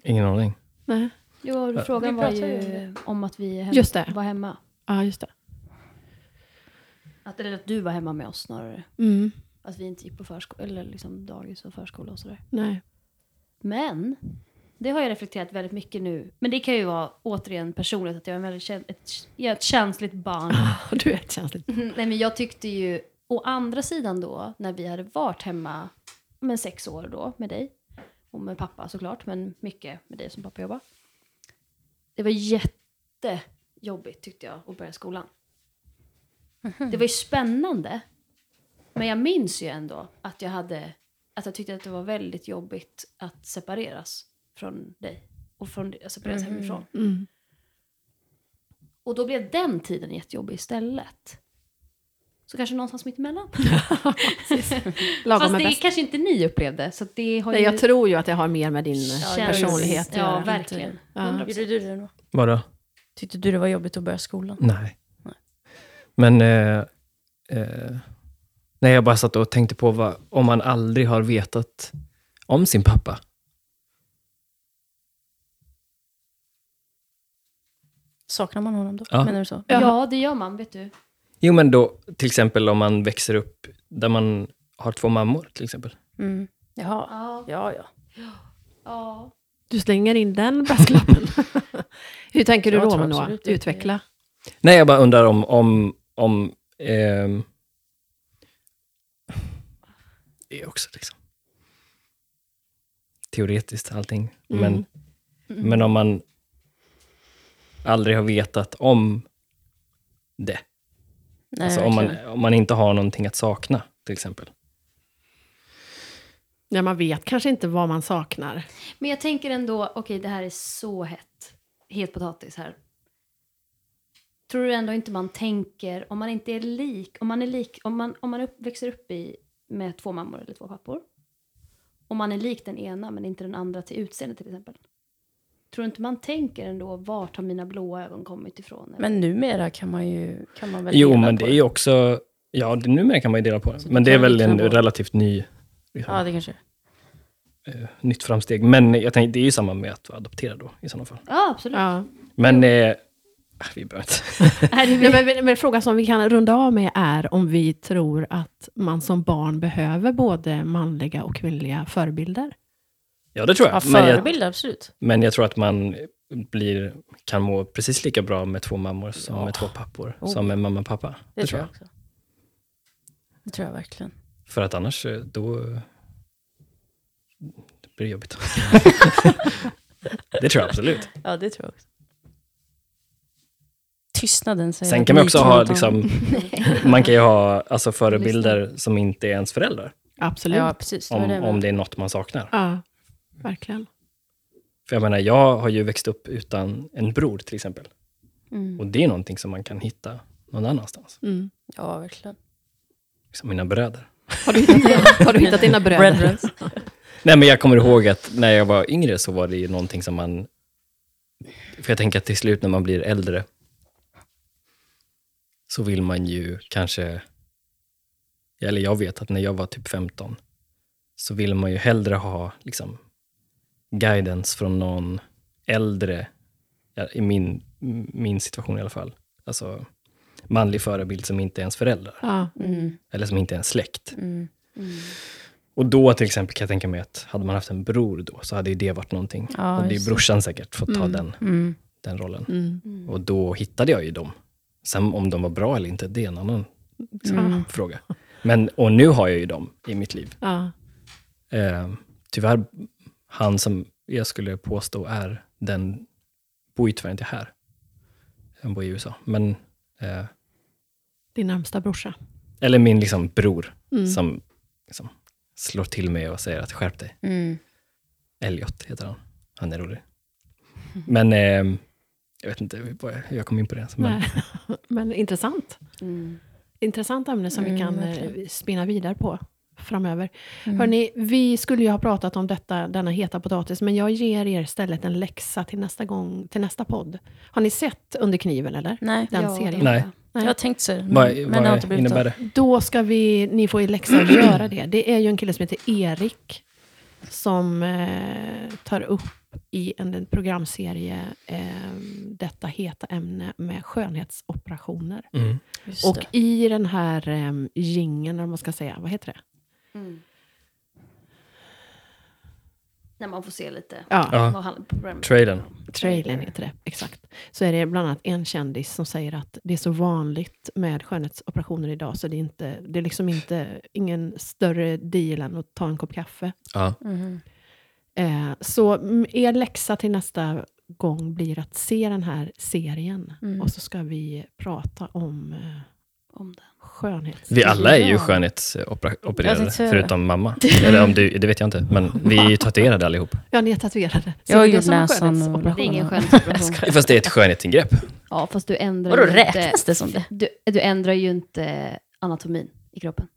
[SPEAKER 5] Ingen aning.
[SPEAKER 2] Nej.
[SPEAKER 1] Jo, frågan
[SPEAKER 4] Vi
[SPEAKER 1] var
[SPEAKER 4] pratar ju om
[SPEAKER 1] ju om att vi hem,
[SPEAKER 2] Just det.
[SPEAKER 1] var hemma.
[SPEAKER 2] Ja, just det.
[SPEAKER 1] Att, eller att du var hemma med oss snarare.
[SPEAKER 2] Mm.
[SPEAKER 1] Att vi inte gick på förskola, eller liksom dagis och förskola och sådär.
[SPEAKER 2] Nej.
[SPEAKER 1] Men, det har jag reflekterat väldigt mycket nu. Men det kan ju vara återigen personligt att jag är en väldigt käns- ett, jag är ett känsligt barn.
[SPEAKER 2] Du är ett känsligt.
[SPEAKER 1] Mm, Nej men jag tyckte ju, å andra sidan då, när vi hade varit hemma, men sex år då med dig. Och med pappa såklart, men mycket med dig som pappa jobbar. Det var jättejobbigt tyckte jag att börja skolan. Det var ju spännande. Men jag minns ju ändå att jag hade, att jag tyckte att det var väldigt jobbigt att separeras från dig. Och från, alltså separeras hemifrån.
[SPEAKER 2] Mm.
[SPEAKER 1] Och då blev den tiden jättejobbig istället. Så kanske någonstans mitt (laughs) emellan.
[SPEAKER 2] Lagom
[SPEAKER 1] Fast
[SPEAKER 2] är
[SPEAKER 1] det
[SPEAKER 2] bäst.
[SPEAKER 1] kanske inte ni upplevde. Så att det har
[SPEAKER 2] Nej,
[SPEAKER 1] ju
[SPEAKER 2] jag tror ju att det har mer med din
[SPEAKER 1] känts-
[SPEAKER 2] eh, personlighet att
[SPEAKER 1] Ja,
[SPEAKER 2] göra.
[SPEAKER 1] verkligen.
[SPEAKER 2] Ja.
[SPEAKER 1] 100%.
[SPEAKER 4] Gjorde du det då?
[SPEAKER 5] Vadå?
[SPEAKER 4] Tyckte du det var jobbigt att börja skolan?
[SPEAKER 5] Nej. Men... Eh, eh, nej, jag bara satt och tänkte på vad, om man aldrig har vetat om sin pappa.
[SPEAKER 4] Saknar man honom då?
[SPEAKER 5] Ja.
[SPEAKER 4] Menar du så?
[SPEAKER 1] Ja, det gör man, vet du.
[SPEAKER 5] Jo, men då till exempel om man växer upp där man har två mammor till exempel.
[SPEAKER 4] Mm. Jaha.
[SPEAKER 1] Ja.
[SPEAKER 4] Ja, ja.
[SPEAKER 1] ja.
[SPEAKER 2] Du slänger in den brasklappen.
[SPEAKER 4] (laughs)
[SPEAKER 2] hur tänker du
[SPEAKER 4] Jag
[SPEAKER 2] då,
[SPEAKER 4] tror
[SPEAKER 2] Manoa?
[SPEAKER 4] absolut det.
[SPEAKER 2] Utveckla.
[SPEAKER 5] Nej, jag bara undrar om... om, om ehm, det är också liksom... Teoretiskt allting.
[SPEAKER 4] Mm.
[SPEAKER 5] Men, men om man aldrig har vetat om det.
[SPEAKER 4] Nej,
[SPEAKER 5] alltså om man,
[SPEAKER 4] verkligen.
[SPEAKER 5] om man inte har någonting att sakna, till exempel.
[SPEAKER 2] Ja, man vet kanske inte vad man saknar.
[SPEAKER 1] Men jag tänker ändå, okej det här är så hett. Het potatis här. Tror du ändå inte man tänker, om man inte är lik, om man är lik, om man, om man upp, växer upp i, med två mammor eller två pappor. Om man är lik den ena men inte den andra till utseende till exempel. Tror du inte man tänker ändå, vart har mina blåa ögon kommit ifrån? Eller?
[SPEAKER 4] Men numera kan man ju... Kan man väl
[SPEAKER 5] Jo,
[SPEAKER 4] dela
[SPEAKER 5] men
[SPEAKER 4] på
[SPEAKER 5] det är ju också... Ja, det, numera kan man ju dela på det.
[SPEAKER 4] Så
[SPEAKER 5] Men
[SPEAKER 4] det
[SPEAKER 5] det är
[SPEAKER 4] kan
[SPEAKER 5] väl
[SPEAKER 4] likna
[SPEAKER 5] en
[SPEAKER 4] båda.
[SPEAKER 5] relativt ny... Liksom,
[SPEAKER 4] Ja, det kanske
[SPEAKER 5] eh, Nytt framsteg. Men jag tänkte, det är ju samma med att vara adopterad då, i sådana fall.
[SPEAKER 1] Ja, absolut. (laughs)
[SPEAKER 2] Ja.
[SPEAKER 5] Men... Eh, ah, vi behöver inte... (laughs)
[SPEAKER 2] Nej, men, men, men frågan som vi kan runda av med är om vi tror att man som barn behöver både manliga och kvinnliga förebilder.
[SPEAKER 5] Ja, det tror jag.
[SPEAKER 4] Ja,
[SPEAKER 5] men, jag
[SPEAKER 4] förebild, absolut.
[SPEAKER 5] men jag tror att man blir, kan må precis lika bra med två mammor som med två pappor.
[SPEAKER 4] Oh.
[SPEAKER 5] Som med mamma och pappa.
[SPEAKER 4] Det, tror jag också. Det tror jag verkligen.
[SPEAKER 5] För att annars, eh, då... eh, Det blir jobbigt. (laughs) det tror jag absolut.
[SPEAKER 4] Ja, det tror jag också. Tystnaden säger
[SPEAKER 5] Sen
[SPEAKER 4] att
[SPEAKER 5] kan man
[SPEAKER 4] ni
[SPEAKER 5] också ha,
[SPEAKER 4] inte ha-
[SPEAKER 5] liksom, man kan ju ha
[SPEAKER 4] (laughs)
[SPEAKER 5] alltså, förebilder som inte är ens föräldrar.
[SPEAKER 2] Absolut.
[SPEAKER 4] Ja,
[SPEAKER 2] Ja,
[SPEAKER 4] precis. Det var
[SPEAKER 5] Om,
[SPEAKER 4] det jag
[SPEAKER 5] om
[SPEAKER 4] menade.
[SPEAKER 5] det är något man saknar.
[SPEAKER 2] verkligen.
[SPEAKER 5] För jag menar, jag har ju växt upp utan en bror till exempel.
[SPEAKER 1] Mm.
[SPEAKER 5] Och det är någonting som man kan hitta någon annanstans.
[SPEAKER 2] Mm.
[SPEAKER 4] Ja, verkligen.
[SPEAKER 5] Som mina bröder.
[SPEAKER 2] Har, du hittat, har du hittat dina bröder?
[SPEAKER 4] Brethren.
[SPEAKER 5] Nej, men jag kommer ihåg att när jag var yngre så var det ju någonting som man... För jag tänker att till slut när man blir äldre så vill man ju kanske eller jag vet att när jag var typ 15 så ville man ju hellre ha liksom, guidance från någon äldre, ja, i min, m- min situation i alla fall. Alltså manlig förebild som inte är ens föräldrar,
[SPEAKER 2] Ja.
[SPEAKER 4] Mm,
[SPEAKER 5] eller som inte är ens släkt. Och då till exempel kan jag tänka mig att hade man haft en bror då, så hade ju det varit någonting.
[SPEAKER 4] Ja,
[SPEAKER 5] hade ju
[SPEAKER 4] just Mm.
[SPEAKER 5] brorsan säkert fått ta den, den rollen.
[SPEAKER 2] Mm.
[SPEAKER 1] Mm.
[SPEAKER 2] (laughs)
[SPEAKER 5] Och då hittade jag ju dem. Sen om de var bra eller inte, det är en annan liksom,
[SPEAKER 4] Mm.
[SPEAKER 5] fråga. Men, och nu har jag ju dem i mitt liv.
[SPEAKER 2] Ja.
[SPEAKER 5] Eh, tyvärr, han som jag skulle påstå är den, bor ju tyvärr inte här. Han bor i USA. Men, eh,
[SPEAKER 2] Din närmsta brorsa.
[SPEAKER 5] eller min liksom, bror
[SPEAKER 4] Mm.
[SPEAKER 5] som liksom, slår till mig och säger att skärp dig.
[SPEAKER 4] Mm.
[SPEAKER 5] Elliot heter han. Han är rolig. Men eh, jag vet inte hur vad jag- hur jag kom in på det. ens, Men,
[SPEAKER 2] Nej. (laughs) Men intressant.
[SPEAKER 1] Mm.
[SPEAKER 2] Intressant ämne som vi kan eh, spinna vidare på framöver. Hörni, vi skulle ju ha pratat om detta, denna heta potatis, men jag ger er istället en läxa till nästa, gång, till nästa podd. Har ni sett Under kniven eller?
[SPEAKER 4] Nej,
[SPEAKER 2] Den
[SPEAKER 1] Ja,
[SPEAKER 2] serien.
[SPEAKER 1] det-
[SPEAKER 5] Nej.
[SPEAKER 4] jag har tänkt så. Men,
[SPEAKER 5] Vad,
[SPEAKER 4] men det har inte
[SPEAKER 5] vad
[SPEAKER 4] blivit
[SPEAKER 5] innebär
[SPEAKER 4] av.
[SPEAKER 5] det?
[SPEAKER 2] Då ska vi, ni får i läxa att göra det. Det är ju en kille som heter Erik som eh, tar upp i en, en programserie eh, detta heta ämne med skönhetsoperationer.
[SPEAKER 5] Mm.
[SPEAKER 4] Just
[SPEAKER 2] Och
[SPEAKER 4] det.
[SPEAKER 2] i den här eh, jingeln, eller vad man ska säga, vad heter det?
[SPEAKER 1] Mm. När man får se lite
[SPEAKER 2] Ja,
[SPEAKER 5] Ja,
[SPEAKER 1] vad han, programmet-
[SPEAKER 5] traden.
[SPEAKER 2] trailern heter det, exakt. Så är det bland annat en kändis som säger att det är så vanligt med skönhetsoperationer idag, så det är, inte, det är liksom inte ingen större deal än att ta en kopp kaffe.
[SPEAKER 5] Ja.
[SPEAKER 2] Eh, så mm, er läxa till nästa gång blir att se den här serien,
[SPEAKER 4] Mm.
[SPEAKER 2] och så ska vi prata om eh,
[SPEAKER 1] om det.
[SPEAKER 2] skönhets...
[SPEAKER 5] Vi alla är ju
[SPEAKER 4] Ja. Jag
[SPEAKER 5] skönhetsopererade,
[SPEAKER 4] tänkte säga det.
[SPEAKER 5] förutom mamma. Eller om du, det vet jag inte, men vi
[SPEAKER 4] (laughs)
[SPEAKER 5] är ju tatuerade allihop.
[SPEAKER 2] Ja, ni är tatuerade.
[SPEAKER 4] Jag har
[SPEAKER 2] Ser det
[SPEAKER 4] gjort
[SPEAKER 2] som en
[SPEAKER 4] näsan och-
[SPEAKER 2] skönhetsoperation?
[SPEAKER 1] Det är ingen
[SPEAKER 4] (laughs)
[SPEAKER 1] skönhetsoperation.
[SPEAKER 5] Fast det är ett skönhetsingrepp.
[SPEAKER 1] ja, fast du ändrar
[SPEAKER 4] Vadå,
[SPEAKER 1] ju inte-
[SPEAKER 4] räknas det som det?
[SPEAKER 1] Du, du ändrar ju inte anatomin i kroppen.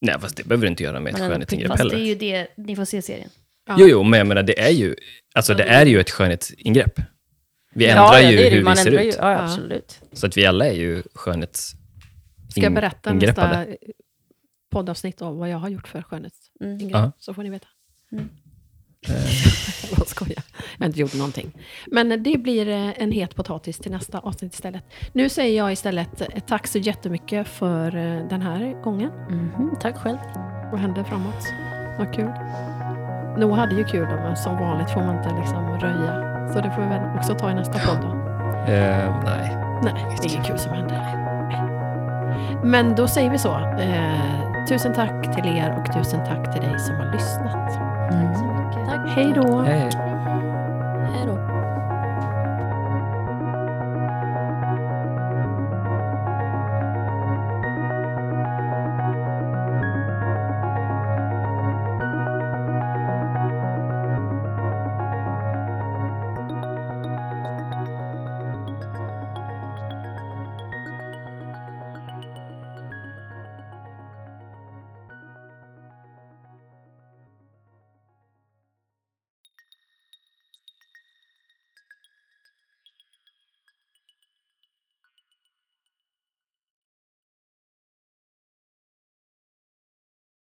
[SPEAKER 5] Nej, fast det behöver du inte göra med ett
[SPEAKER 4] Men ändå
[SPEAKER 5] skönhetsingrepp
[SPEAKER 1] Fast
[SPEAKER 5] heller.
[SPEAKER 1] det är ju det, ni får se serien.
[SPEAKER 5] Jo, jo, men jag menar, det är ju, alltså, det är ju ett skönhetsingrepp. Vi ändrar
[SPEAKER 4] ja, ja,
[SPEAKER 5] ju
[SPEAKER 4] det är det.
[SPEAKER 5] hur vi
[SPEAKER 4] Man
[SPEAKER 5] ser
[SPEAKER 4] ändrar
[SPEAKER 5] ut.
[SPEAKER 4] Ju, ja, ja, absolut.
[SPEAKER 5] Så att vi alla är ju skönhets...
[SPEAKER 2] Ska jag berätta
[SPEAKER 5] ingreppade.
[SPEAKER 2] nästa poddavsnitt om vad jag har gjort för skönhetsingrepp?
[SPEAKER 5] Ja.
[SPEAKER 2] Så får ni veta.
[SPEAKER 4] Mm.
[SPEAKER 2] Eh. (laughs) jag skojar. Jag har inte gjort någonting. Men det blir eh, en het potatis till nästa avsnitt istället. Nu säger jag istället eh, tack så jättemycket för eh, den här gången.
[SPEAKER 4] Mhm, Tack själv.
[SPEAKER 2] Vad hände framåt? Vad kul. Noah hade ju kul då, men som vanligt får man inte liksom röja. Så det får vi väl också ta i nästa podd då.
[SPEAKER 5] Eh, nej.
[SPEAKER 2] Nej, det är inget kul som händer. Nej. Men då säger vi så. Eh, tusen tack till er och tusen tack till dig som har lyssnat.
[SPEAKER 1] Tack.
[SPEAKER 2] Hej då!
[SPEAKER 5] Hej.
[SPEAKER 4] Hej då.